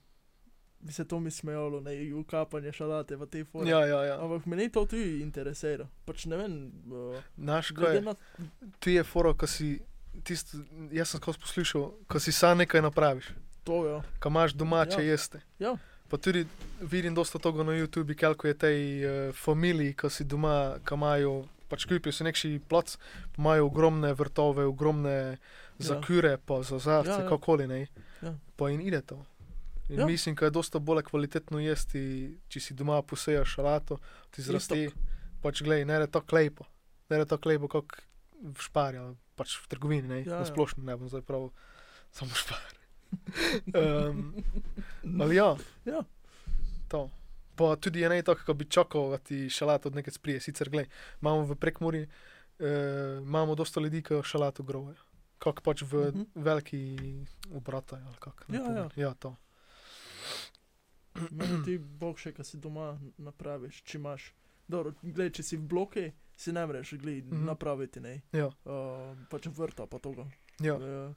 A: bi se to mi smejalo, ne, ukapanje šalate v te forme.
B: ja, ja. ja.
A: Ampak meni to tudi interesira. Pač ne vem, uh,
B: Naš kaj
A: glede
B: je.
A: na
B: ti je foro, ko si tisto, jaz sem skozi poslušal, ko si sam nekaj napraviš,
A: to, ja.
B: ko imaš domače
A: Ja.
B: ja. jeste.
A: Ja.
B: Pa tudi vidim dosta tega na YouTubu, koliko je tej uh, familiji, ko si doma, ko imajo, pač kupijo si neki plac, pa imajo ogromne vrtove, ogromne zakure, ja. pa za zarce,
A: Ja, ja.
B: ja, ja. kakoli ne.
A: Ja.
B: Pa in ide to. In
A: Ja.
B: ja. mislim, da je dosta bolj kvalitetno jesti, če si doma posejaš šalato, ti zrasti, pač glej, ne je to klepo, ne je to klepo, kot v špari, ali pač v trgovini, ne,
A: Ja,
B: ja,
A: ja.
B: na splošno ne bom zdaj prav, samo špar. um, ali ja,
A: Ja.
B: to. Pa tudi je ne tako, kot bi čakal, da ti šalat od nekaj sprije. Sicer, glej, imamo v prekmori, eh, imamo dosta ljudi, ki šalat ogrovajo. Kak pač v uh
A: Mhm.
B: -huh. veliki obrata, ali kako.
A: Ja, ja.
B: ja, to.
A: Meni ti bog še, kaj si doma napraviš, če imaš. Dobro, gled, če si v bloki, si ne moreš gled, mm
B: Mhm.
A: -hmm. napraviti, ne.
B: Ja.
A: Uh, pač vrta pa toga.
B: Ja.
A: Eh,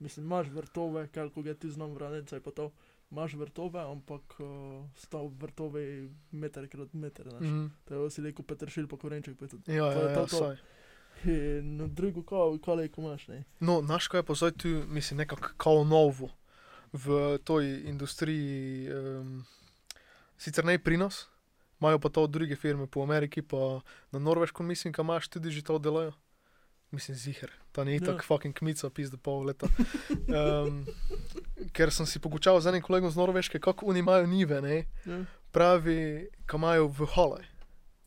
A: mislim, imaš vrtove, kako ga ti znam vranica in pa to. Imaš vrtove, ampak uh, sta vrtove meter krat meter. Mm.
B: Mm,
A: Tako si rekel Petršil pa korenček. Pa tudi.
B: ja,
A: To
B: ja,
A: je to,
B: ja,
A: to.
B: saj.
A: In drugo, ko, ko lejko imaš, ne.
B: No, naš kaj je pa zdaj tu, mislim, nekako kao novo v toj industriji, um, sicer ne pri nas, imajo pa to druge firme po Ameriki, pa na Norveško, mislim, kam imaš tudi že to delajo. Mislim, ziger, to ni
A: Ja.
B: tako fucking kmica, pizda pol leta. Um, ker sem si pogučal z enim kolegom z Norveške, kako oni imajo nive, ne?
A: Ja.
B: pravi, kam imajo v hale.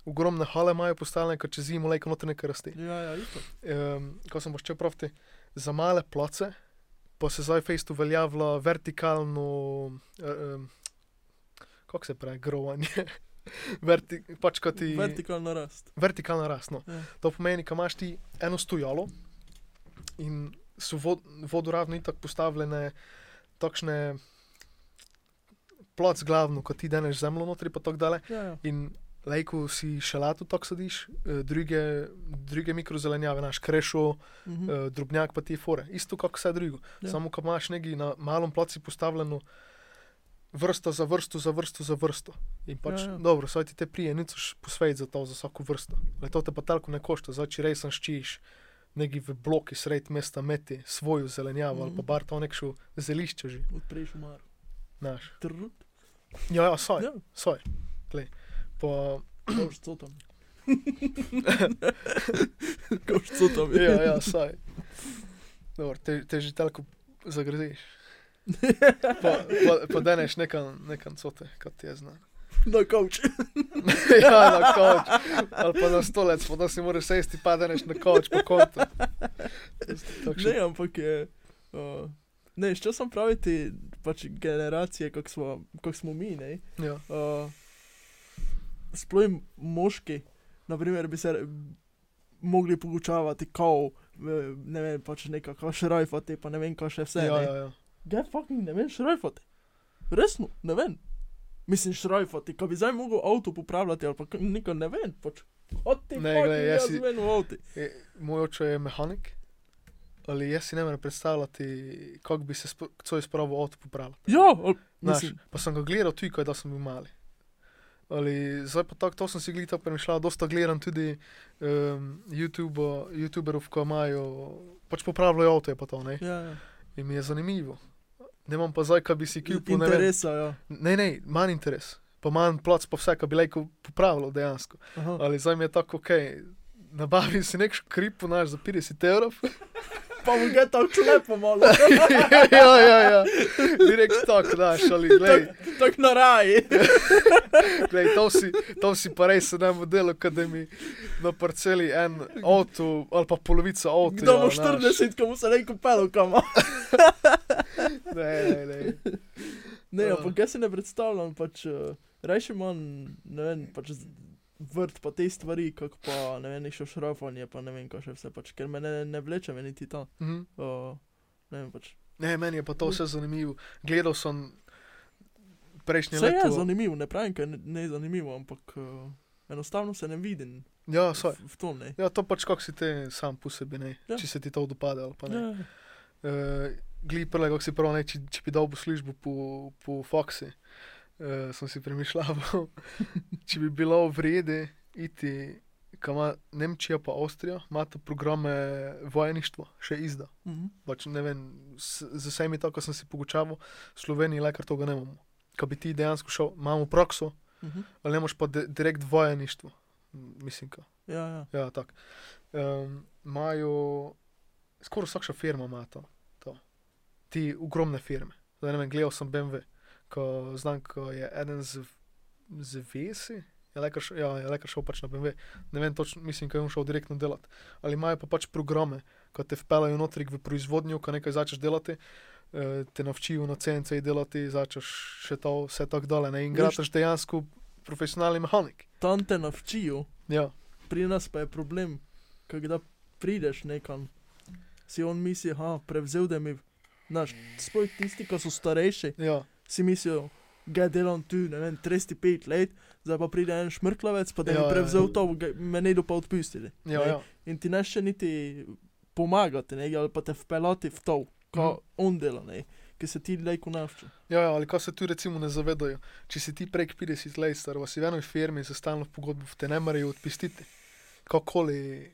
B: Ogromne hale imajo postavljene, ker čez zimo lajko noter nekaj rasti
A: Ja, ja, isto.
B: um, ko sem boš čepral, za male place, pa se zdaj Face tu uveljavlja vertikalno, um, kako se pravi, grovanje. Verti, pač kot ti.
A: Vertikalna rast.
B: Vertikalna rast. No.
A: Ja.
B: To pomeni, da imaš ti eno stojalo in so vod, vodoravno in tako postavljene takšne plac glavno, kot ti deneš zemljo notri, pa tako dalje.
A: Ja, ja.
B: In lajko si šalatu tako sadiš, eh, druge, druge mikrozelenjave, naš krešo,
A: Mhm.
B: uh, drobnjak pa ti fore. Isto kot vse drugo.
A: Ja.
B: Ja. Samo, ko imaš neki na malem placu postavljeno vrsto za vrsto, za vrsto, za vrsto. In pač,
A: Ja,
B: ja,
A: ja.
B: ja. dobro, saj ti te prije, nič posveti za to, za vsako vrsto. Le to te pa tako ne košta, zdaj če res ščiš. Neki v bloki sred mesta meti svojo zelenjavo mm -hmm. ali pa
A: Mhm.
B: bar to nekšo zelišče že,
A: Odpreš umar.
B: znaš.
A: Trud.
B: Ja, ja, soj,
A: Ja,
B: ja. soj. Glej. Pa,
A: koš co tam. koš co tam.
B: ja, ja, saj. Dobro, te, te že tako zagroziš. Pa, pa, pa deneš nekam, nekam cote, kot ti je znan.
A: Na kavč.
B: ja, na koč. Ali pa na stolec, pa da si moraš sesti, pa deneš na koč, pa konto.
A: Ne, ampak je. Uh, ne, še sem praviti, pač generacije, kako smo, kak smo mi, ne.
B: Ja,
A: Uh, sploh jim moški, naprimer, bi se mogli pogučavati kao, eh, ne vem, pač neka kao šrajfati, pa ne vem, kaj še vse.
B: ja,
A: ne.
B: ja, ja.
A: Ga fucking ne vem šrajfati. Resno, ne vem. Mislim, šrajfati, ko bi zdaj mogel avto popravljati ali pa k- nekaj, ne vem, pač. Od tega,
B: Ne,
A: da
B: glej,
A: jaz
B: jaz si-
A: vem v avtu.
B: E, moj oče je mehanik, ali jaz si ne morem predstavljati, kako bi se sp- co je spravo avto popravil.
A: Ja, ali,
B: Znaš,
A: mislim,
B: pa sem ga gledal tudi, ko da sem bil mali. Ali, zdaj pa tako, to sem si gledal, premišljal, dosta gledam tudi um, YouTube, YouTuberov, ko imajo, pač popravljajo avto, je pa to, ne.
A: ja, ja.
B: In mi je zanimivo. Ne imam pa zdaj, kaj bi si kupil, ne vem.
A: interesa, ja.
B: Ne, ne, manj interes. Pa manj plac, pa vse, kar bi lahko popravilo dejansko.
A: Aha.
B: Ali zdaj mi je tako, ok, nabavi si nek škripo, naš za 50 evrov.
A: Pa mu ga tam klepo malo,
B: ja, ja, ja. Direkt tako, daš, ali glej,
A: tako na raji.
B: glej to, si, to si pa res ne modelo, kad da mi na parceli en avto ali pa polovica avta.
A: Kdo
B: ja,
A: bo
B: znaš.
A: 40, komu se ne kupelo, kama.
B: Ne, ne, ne.
A: Ne,
B: Ja.
A: ampak jaz si ne predstavljam, pač uh, rajši imam, ne vem, pač z- vrt pa te stvari, kako pa, ne vem, še šrafanje, pa ne vem, kaj še vse, pač, ker me ne, ne vleče, meni ti ta,
B: Mhm.
A: uh, ne vem, pač.
B: Ne, meni je pa to vse zanimivo. Gledal sem prejšnje
A: Vse je
B: leto.
A: zanimivo, ne pravim, ker ne, ne je zanimivo, ampak uh, enostavno se ne vidim
B: Ja,
A: v,
B: saj.
A: v tom, ne.
B: Ja, to pač kako si ti sam po sebi, ne.
A: Ja.
B: Ja. Če se ti to dopade ali pa ne. Ja.
A: Ja,
B: Uh, Glej, prele, kako si prav, ne, če, če bi dal v službo po, po Foxi, uh, sem si premišljal, če bi bilo vrede iti, kam ima Nemčija pa Avstrija, imata programe vojništva, še izda.
A: mhm.
B: Pač ne vem, s, z vsemi to, kar sem si pogučaval, v Sloveniji lekar tega nemamo. Kaj bi ti dejansko šel, imamo prakso,
A: mhm.
B: ali ne moš pa de, direkt vojništvo, mislim. Ka.
A: ja, ja.
B: Ja, tako. Um, Imajo, skoraj vsaka firma ima to, to. Ti ogromne firme. Zdaj, ne vem, gledal sem BMW, ko znam, ko je eden z, z vesi. Je lekar, šel- ja, je lekar šel pač na BMW, ne vem točno, mislim, kaj je on šel direktno delati. Ali imajo pa pač programe, ko te vpeljajo notri v proizvodnjo, ko nekaj začneš delati, eh, te naučijo na CNC delati, začneš še to, vse tako dole. Ne? In
A: Veš-
B: greš dejansko profesionalni mehanik.
A: Tam te navčijo,
B: Ja,
A: pri nas pa je problem, kada prideš nekam, si on misli, ha, prevzel da mi, znaš, sploh tisti, ki so starejši,
B: ja,
A: si mislijo, da delam tu, ne vem, 35 let, zdaj pa pride en šmrklavec, pa da
B: Ja,
A: bi
B: ja,
A: prevzel
B: ja.
A: to, ga- me ne do pa odpustili.
B: ja,
A: Ne.
B: ja.
A: In ti ne še niti pomagati, ne, ali pa te vpelati v to, kar
B: Mhm.
A: on dela, ne, ki se ti lajko navča.
B: Ja, ja, ali kaj se tu recimo ne zavedajo. Če si ti prek 50 let star, vas je v eni firmi za stalno pogodbo, te ne morejo odpustiti. Kakoli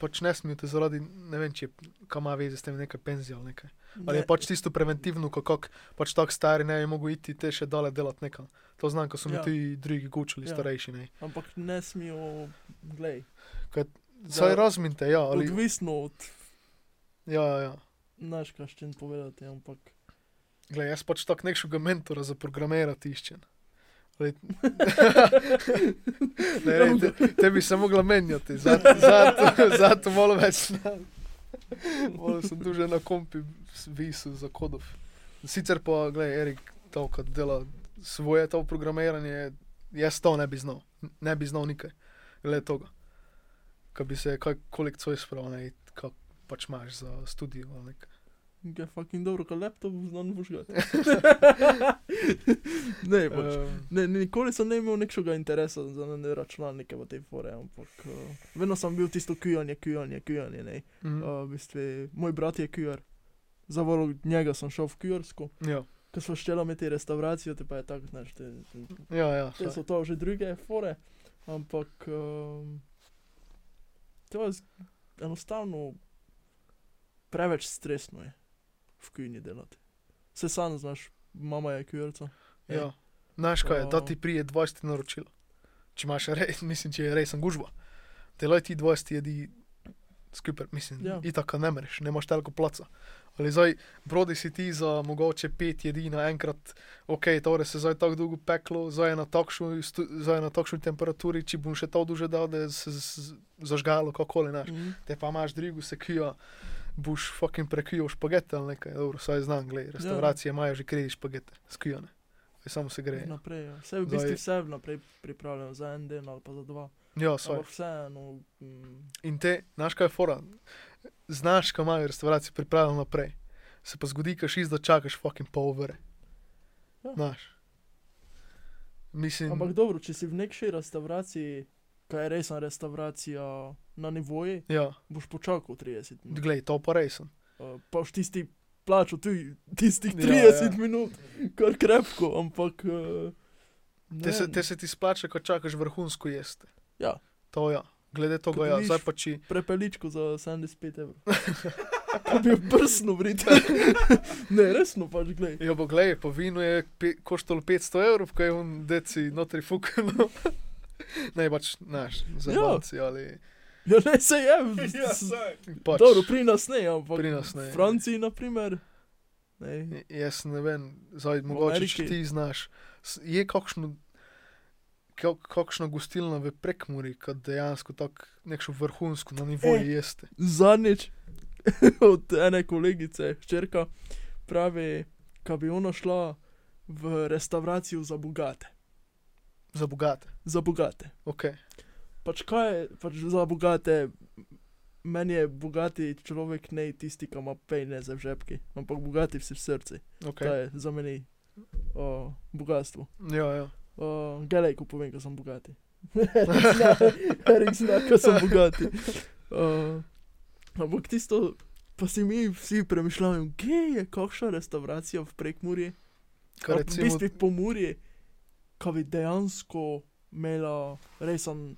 B: pač ne smijo te zaradi, ne vem, če kam ima veze s tem nekaj penzija ali nekaj. Ali je pač tisto preventivno, kako pač tako stari ne bi mogli iti te še dale delati nekam. To znam, ko so mi
A: Ja.
B: ja. tudi drugi gučili,
A: Ja.
B: ja. starejši. Ne.
A: Ampak ne smijo, glej,
B: Saj razminte, ja, ali.
A: odvisno od,
B: Ja, ja, ja.
A: znaš, kaj še povedati, ampak.
B: Glej, jaz pač tako nekšnega mentora za programirati iščem. Glej, ne, ne, te, te bi se mogla menjati, zato, zato, zato malo več znam. Malo sem tu že na kompi visel za kodov. Sicer pa, glej, Erik, to, kad dela svoje to programiranje, jaz to ne bi znal. Ne bi znal nikaj. Le tega. Kaj bi se, kaj, koliko coj spravil, ne, kaj pač imaš za študijo ali nekaj.
A: Je fucking dobro, ko laptop znam požgati. ne, pač.
B: Ehm,
A: Ne, ni- nikoli sem ne imel nekšnega interesa za ne, ne računalnike v tej fore, ampak uh, vedno sem bil tisto kujanje, kujanje, kujanje. ne.
B: mhm.
A: Uh, v bistvu, moj brat je kujar, zavolil njega sem šel v kujarsko,
B: Ja,
A: ko smo šteli imeti restauracijo, te pa je tako, znaš, te,
B: ja, ja.
A: te
B: saj.
A: so to že druge fore, ampak um, to je z- enostavno preveč stresno je v kujanju delati. Se sam znaš, mama je kujarca.
B: Ja. Znaš kaj, je, da
A: To-
B: ti prije 20 naročila. Če imaš res, mislim, če je resen gužva. Delaj ti 20 jedi skupaj, mislim,
A: Ja.
B: ja. itaka ne mereš, ne imaš toliko placa. Ali zdaj brodi si ti za mogoče 5 jedi naenkrat, ok, torej se zdaj tako dolgo peklo, zdaj je na takšni stu- zdaj je na takšni temperaturi, če bom še to duže dal, da se z- z- zažgalo kakoli, znaš.
A: Mhm.
B: Te pa imaš drugo sekijo, boš fucking prekijal špagete ali nekaj, dobro, saj znam, gledaj, restauracije ja. imajo že kredi špagete, skijane. Samo se gre.
A: Naprej, ja. Vse v bistvu
B: Zdaj-
A: vse vnaprej pripravljam za en dan ali pa za dva.
B: Ja, svoj.
A: Ampak vseeno, mm,
B: In te, znaš kaj je fora, znaš, kam imajo restauracije pripravljeno naprej. Se pa zgodi, kaš izda čakaš fucking pol ure.
A: Ja.
B: Znaš. Mislim,
A: Ampak dobro, če si v neki restavraciji, kaj je resna restauracija na nivoji,
B: ja,
A: boš počakal 30 minut.
B: glej, to pa res.
A: Uh, pa boš tisti plačal tudi tistih
B: Ja,
A: 30 ja, ja. minut, kar krepko, ampak. Uh, ne
B: Te se,
A: vem.
B: te se ti splača, ko čakaš vrhunsko jesti.
A: Ja.
B: To ja. Glede
A: Ko
B: tega, ja.
A: dobiš-
B: zdaj pa če
A: prepeličko za 75 evrov. To bi prsno vrite. ne, resno pač gledaj.
B: jo bo gledaj, po vinu je pe, koštalo 500 evrov, ko je on deci notri fukano. ne, pač, znaš, za
A: Ja.
B: banci ali
A: Ja, ne se je.
C: Ja, saj.
B: pač.
A: Dobro, pri nas ne, ampak.
B: pri nas ne.
A: V Franciji, na primer. Ne.
B: Jaz ne vem, zdaj mogoče če
A: Ameriki.
B: ti znaš. S- Je kakšno, kak- kakšna gostilna v Prekmuri, kad dejansko tako nekšno vrhunsko na nivoju
A: E.
B: jeste.
A: Zadnjič od ene kolegice, ščerka, pravi, da bi ona šla v restauracijo za bogate.
B: Za bogate.
A: Za bogate.
B: Okay.
A: Pač kaj je, pač za bogate. Meni je bogati človek ne tisti, ki ima pejne za žepki, ampak bogati vsi v srcu. Okay. To
B: Okay.
A: je za meni o, bogatstvo.
B: Ja, ja.
A: O, Gelej, ko povem, da sem bogati. Erik zna, da sem bogati. O, ampak tisto, pa si mi vsi premišljamo, kje je kakšna restauracija v Prekmurju,
B: Kar
A: ali v
B: recimo,
A: bistvu po Muri, ki bi dejansko imela resen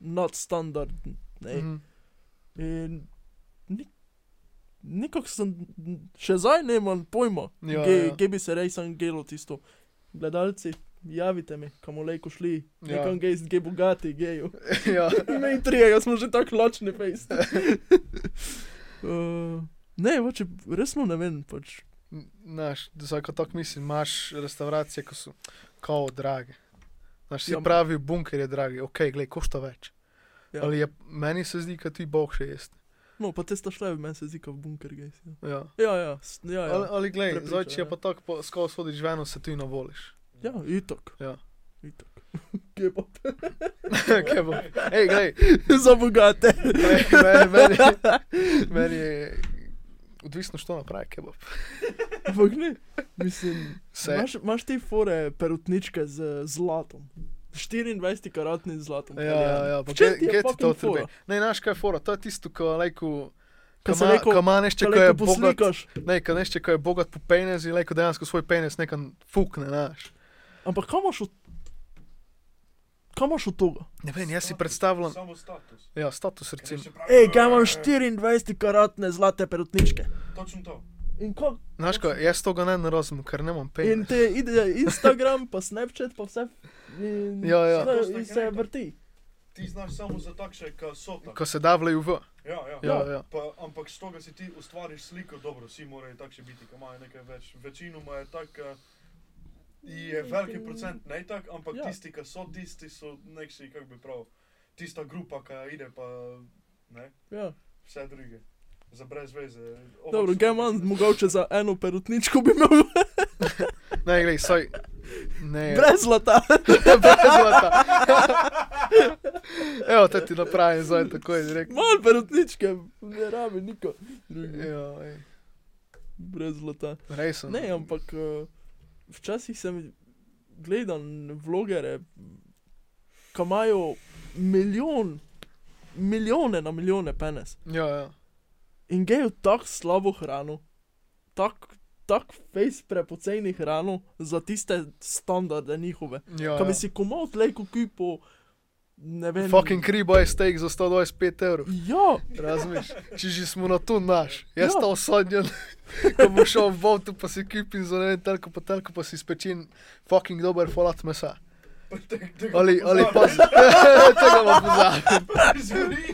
A: nadstandard. Ne?
B: mhm.
A: In ni, nekako sem, še zdaj ne imam pojma,
B: Ja, ja.
A: kje bi se res sam gelo tisto. Gledalci, javite mi, kam olejko šli,
B: Ja.
A: nekam gej, gej bogati, geju.
B: ja.
A: Ne, in trije, jaz smo že tako lačni fejst. uh, ne, pač resno ne vem, pač.
B: Znaš, zdaj ko tako mislim, imaš restauracije, ko so kao drage. Znaš, si
A: Ja,
B: ja.
A: m-
B: pravi, bunker je dragi, ok, glej, košta več.
A: Ja.
B: Ja. Ali je, meni se zdi, da ti bog še jeste.
A: No, pa te sta šle, meni se zdi, kot bunker gej.
B: Ja.
A: Ja, ja, s- ja,
B: Ali,
A: ja,
B: ali glej,
A: Prepričan,
B: zdaj če
A: ja.
B: je pa tako, pa skozi hodiš ven, se ti navoliš.
A: ja itok.
B: Ja.
A: Itok. Kje pa?
B: Kaj bo? Ej, glej,
A: Za bogate.
B: glej, meni, meni, meni je odvisno, što napravi kebab.
A: Ampak ne, mislim.
B: Vse.
A: Imaš, imaš te fore, perutničke z zlatom. 24-karatni zlatom.
B: Ja, ja, ja, pa
A: Če ti
B: kje
A: je
B: ti to
A: treba?
B: treba? Ne, naš kaj je fora, to je tisto, ko lajku,
A: Ko se neko
B: kamanešče, ko je
A: človek
B: bogat,
A: poslikaš,
B: ne, ko nešče, ko je bogat po penezi, lajku dejansko svoj penes nekam fukne, znaš.
A: ampak kam imaš od... Kam imaš od toga?
B: Ne vem, jaz si predstavljam,
C: Samo status.
B: ja, status
C: Ker je
B: recimo.
C: še pravi-
A: Ej, kaj imam 24-karatne zlate perutničke.
C: Točno to.
A: In, ko,
B: Znaš kaj, jaz tega ne, ne razumem, ker nemam
A: in
B: peneza.
A: te ide Instagram, pa Snapchat, pa vse. In,
B: Ja, ja.
A: Vse, in se vrti.
C: Ti znaš samo za takšne, ki so tako.
B: Ko se davljajo v.
C: Ja, ja.
B: Ja, ja.
C: Pa, ampak s tega si ti ustvariš sliko, dobro, vsi morajo takšni biti, ki imajo nekaj več. Večinoma je tak, eh, je veliki procent ne tak,
A: Ja.
C: ampak ja. tisti, ki so tisti, so nekši, kako bi prav, tista grupa, ki ide pa ne,
A: Ja.
C: vse druge. Za brez veze. Opak
A: Dobro,
C: so
A: kaj imam,
C: neki-
A: mogoče za eno perutničko bi imel
B: Ja. Ne, glej, saj. Ne,
A: brez zlata.
B: brez zlata. Evo, te ti napravim zdaj tako je direktno.
A: Mal perutničke, ne rabi niko. drugega.
B: Ja, ej,
A: Brez zlata.
B: Res sem.
A: Ne, ampak eh, včasih sem gledal vlogere, ki imajo milijon, milijone na milijone penes
B: Ja, ja.
A: in gejo tako slabo hrano, tako tak fejs prepoceni hrano za tiste standarde njihove.
B: ja,
A: Kaj bi
B: ja.
A: si komod lejko kupo, ne vem.
B: Fucking kriboj steak za 125 evrov.
A: Ja,
B: Razumeš? Če že smo na to naš, jaz
A: Ja.
B: ja. ta osodnjen, ko bom šel v avto, pa si kipim za ne vem, telko pa telko, pa si spečen fucking dober folat mesa.
C: Te- tega
B: Ali, ali pa
C: poznaš,
B: si tega bom pozabil.
C: zveri.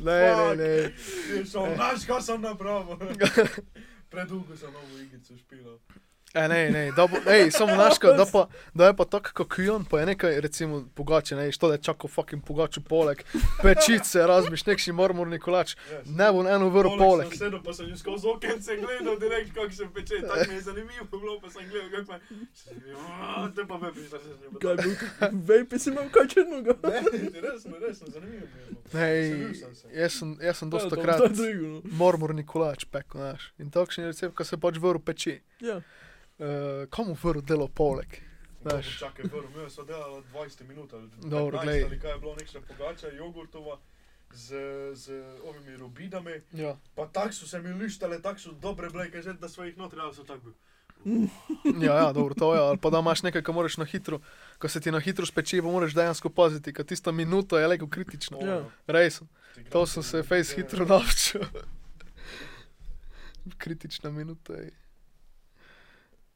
B: Ne, ne, ne.
C: Ti so, Znaš, kaj sem napravil. Predolgo sem novo igrico špilal.
B: E, ne, ne, da bo, ej, samo naška, da, pa, da je pa tako kot kujon, pa je nekaj, recimo, pogače, ne, što da je čakal fucking pogačo poleg, pečice, razmiš, nekši marmorni kolač,
C: Yes.
B: ne bo eno vrl poleg.
C: Sem sedel, pa sem že skozi okence gledal, direkt kako se peče, tako mi je zanimivo bilo, pa sem gledal, kako pa... Te pa vepiš, da se z njim
A: kaj bi, vejpi si imel kaj črnega.
C: Ne, resno, resno, zanimivo mi je bilo.
B: Ne,
C: Veselil sem se.
B: jaz sem, jaz sem dosta
A: Ja,
B: krat
A: to- to je drugo, no.
B: marmorni kolač pekel, znaš. In takšen je recept, ko se pač vrl peči.
A: Ja.
B: Uh, komu vrl delo poleg? Daš.
C: Čakaj, prvo, mi smo delali 20 minut ali
B: Dobro,
C: 15
B: glej.
C: ali kaj je bilo, nekša pogača, jogurtova z, z ovimi robidami.
B: Ja.
C: Pa tako so se mi lištale, tako so dobre bile, kaj že, da smo jih notri, ali so tako bili.
B: Ja, ja, dobro, to je. Ali pa da imaš nekaj, kar moraš na hitro, ko se ti na hitro speče, pa moraš dejansko paziti, ker tista minuta je leko kritična.
A: Ja.
B: Res,
C: Ti
B: to
C: grad
B: sem
C: je
B: se
C: bil,
B: fejs
C: ja.
B: hitro naučil. Kritična minuta je.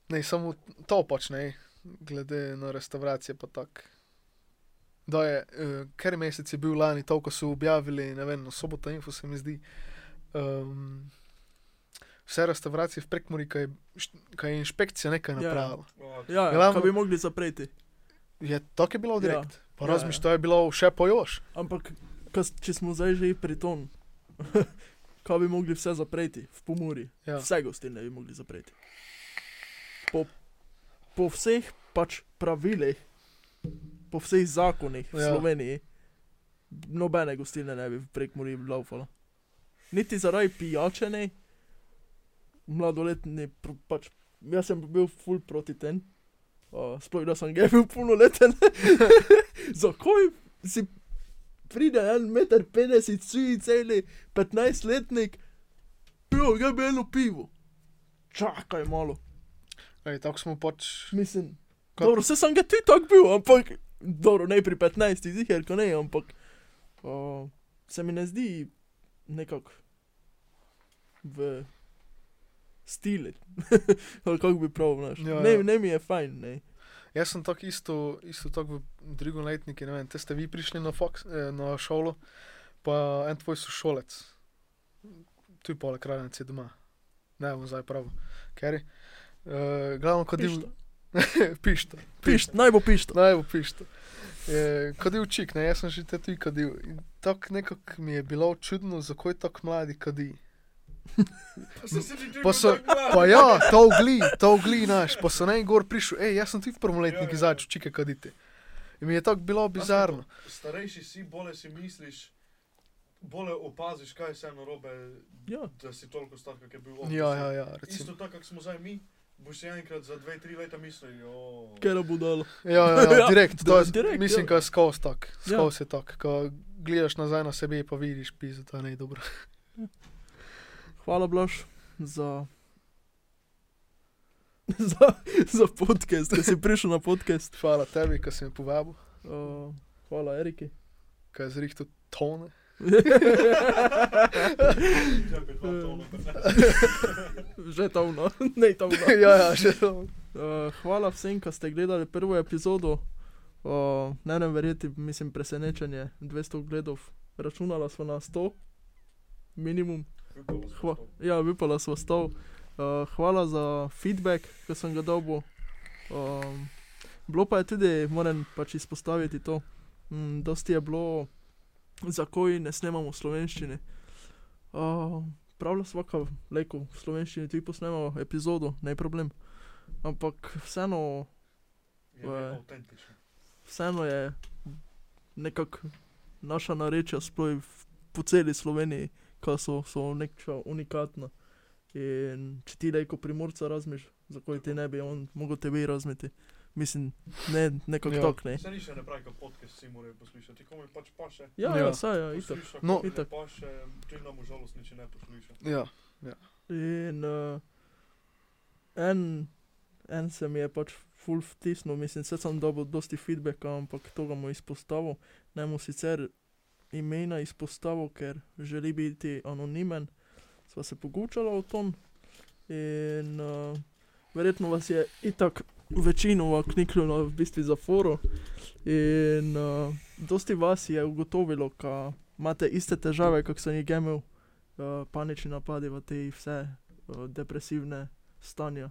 B: Ne, samo to počne, glede na restauracije pa tak. Da je, uh, ker mesec je bil lani to, ko so objavili, ne vem, na soboto info se mi zdi. Um, vse restauracije v Prekmuri, kaj je, št- kaj je inšpekcija nekaj
A: Ja.
B: napravila.
C: O,
A: Ja, ja,
B: Glavno-
A: kaj bi mogli zapreti.
B: Je tako je bilo direkt. Ja. Pa
A: Ja,
B: razmišljaj,
A: ja.
B: to je bilo še pojoš.
A: Ampak, kas, če smo zdaj že pri tom, kaj bi mogli vse zapreti v Pomori?
B: Ja.
A: Vse gostilne bi mogli zapreti. Po, po vseh pač pravilih, po vseh zakonih v
B: Ja.
A: ja. Sloveniji, nobene gostilne ne bi prek Muri laufala. Niti zaradi pijačene, mladoletni, pr- pač jaz sem bil ful proti tem. Uh, sploh da sem gej bil polnoleten. Zakaj si pride en meter 50 cuji celi 15-letnik, pivo, ga bi eno pivo. Čakaj malo.
B: Ej, tako smo pač.
A: Mislim,
B: Kaj-
A: dobro, se sem ga ti tak bil, ampak dobro, ne pri 15, ziher, ko ne, ampak uh, se mi ne zdi nekako v stile. Ali kako bi prav, znaš.
B: Ja,
A: Ja, ne,
B: ja.
A: ja. ne mi je fajn, ne.
B: Jaz sem tako isto, isto tako v drugem letniku, ne vem, te ste vi prišli na, Fox, eh, na šolo, pa en tvoj sošolec, tu je poleg krajnice doma, ne bom zdaj prav, ker je. Eh, glavno, kot je
A: Pišta.
B: pišta.
A: Pišt, naj bo pišta.
B: Naj bo pišta. Eh, Kadil čik, ne, jaz sem že te tudi kadil. In Tako nekako mi je bilo čudno, zakaj tako mladi kadi.
C: Pa se si ti ti
B: Pa so-
C: bil tako mlad.
B: Pa ja, to ogli, to ogli naš, pa so naj gor prišel, hej, jaz sem ti v prvoletnik
C: Ja, ja, ja.
B: izačel, čike kadite. In mi je tako bilo bizarno.
C: Starejši si, bolje si misliš, bolje opaziš, kaj je vse narobe,
A: Ja.
C: da si toliko star, kak je bil on.
B: Ja, ja, ja,
C: Isto
B: recimo.
C: tako, kak smo zdaj mi, boš si enkrat za dve, tri leta mislili, o,
A: Ker bo dalo.
B: Ja, ja, ja
A: Ja,
B: direkt, to je,
A: direkt,
B: mislim,
A: ja.
B: ka je skos tak,
A: Ja.
B: skos je tak, ko gledaš nazaj na sebe pa vidiš, pizda, to ne je dobro.
A: Hvala, Blaž, za, za, za podcast, da si prišel na podcast.
B: Hvala tebi, ko si me povabil,
A: Uh, hvala, Eriki.
B: ko je zrihto tone.
C: tebi dva tona.
A: Že tavno, ne tavno.
B: ja, ja, že to.
A: Uh, hvala vsem, ki ste gledali prvo epizodo. Uh, ne vem, verjeti, mislim, presenečenje 200 ogledov. Računala smo na 100, minimum. Hva, ja, vipala smo stol. Uh, hvala za feedback, ki sem ga dobil. Um, bilo pa je tudi, moram pač izpostaviti to, mm, dosti je bilo, zakaj ne snemamo v slovenščini. Uh, Pravno vsaka leko v slovenščini tudi posnemamo epizodo, ne problem. Ampak vseeno,
C: Je
A: Ja.
C: avtentično.
A: vseeno je nekako naša narečja, sploh v- po celi Sloveniji, ki so, so nekaj unikatna. In če ti reko primorca razmiš, zakaj ti ne bi on mogel tebe razmeti. Mislim, ne, nekako
B: Ja.
A: ja. tak ne.
C: Se nič ne pravi, kot podcast si morajo poslušati, komu pač paše.
A: Ja,
B: Ja.
A: ja, saj, ja, itak.
C: Posluša,
B: No.
C: no, ne
A: Itak.
C: paše, ti nam žalost nič ne posluša.
B: Ja,
A: In uh, en, en se mi je pač full vtisnil, mislim, se sem dobil dosti feedbacka, ampak to ga mu izpostavil. Naj mu sicer imena izpostavil, ker želi biti anonimen. Sva se pogučala o tom in uh, verjetno vas je itak večino kniknilo v bistvu za foro. In uh, dosti vas je ugotovilo, da imate iste težave, kot sem jih imel uh, panični napadi, v te vse uh, depresivne stanja.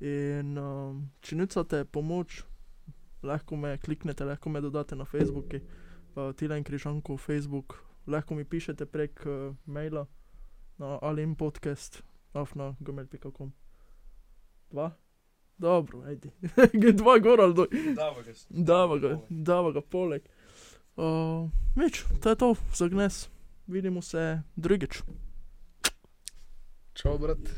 A: In um, če nucate pomoč, lahko me kliknete, lahko me dodate na Facebooku, uh, Tilen Križanko, Facebook, lahko mi pišete prek uh, maila na ali in podcast, afna gmail.com. Dva? Dobro, ajdi. Gre dva gor ali dol.
C: Dava ga.
A: Dava ga, dava ga poleg. Uh, Meč, to je to, zagnes. Vidimo se drugič.
B: čau, brat.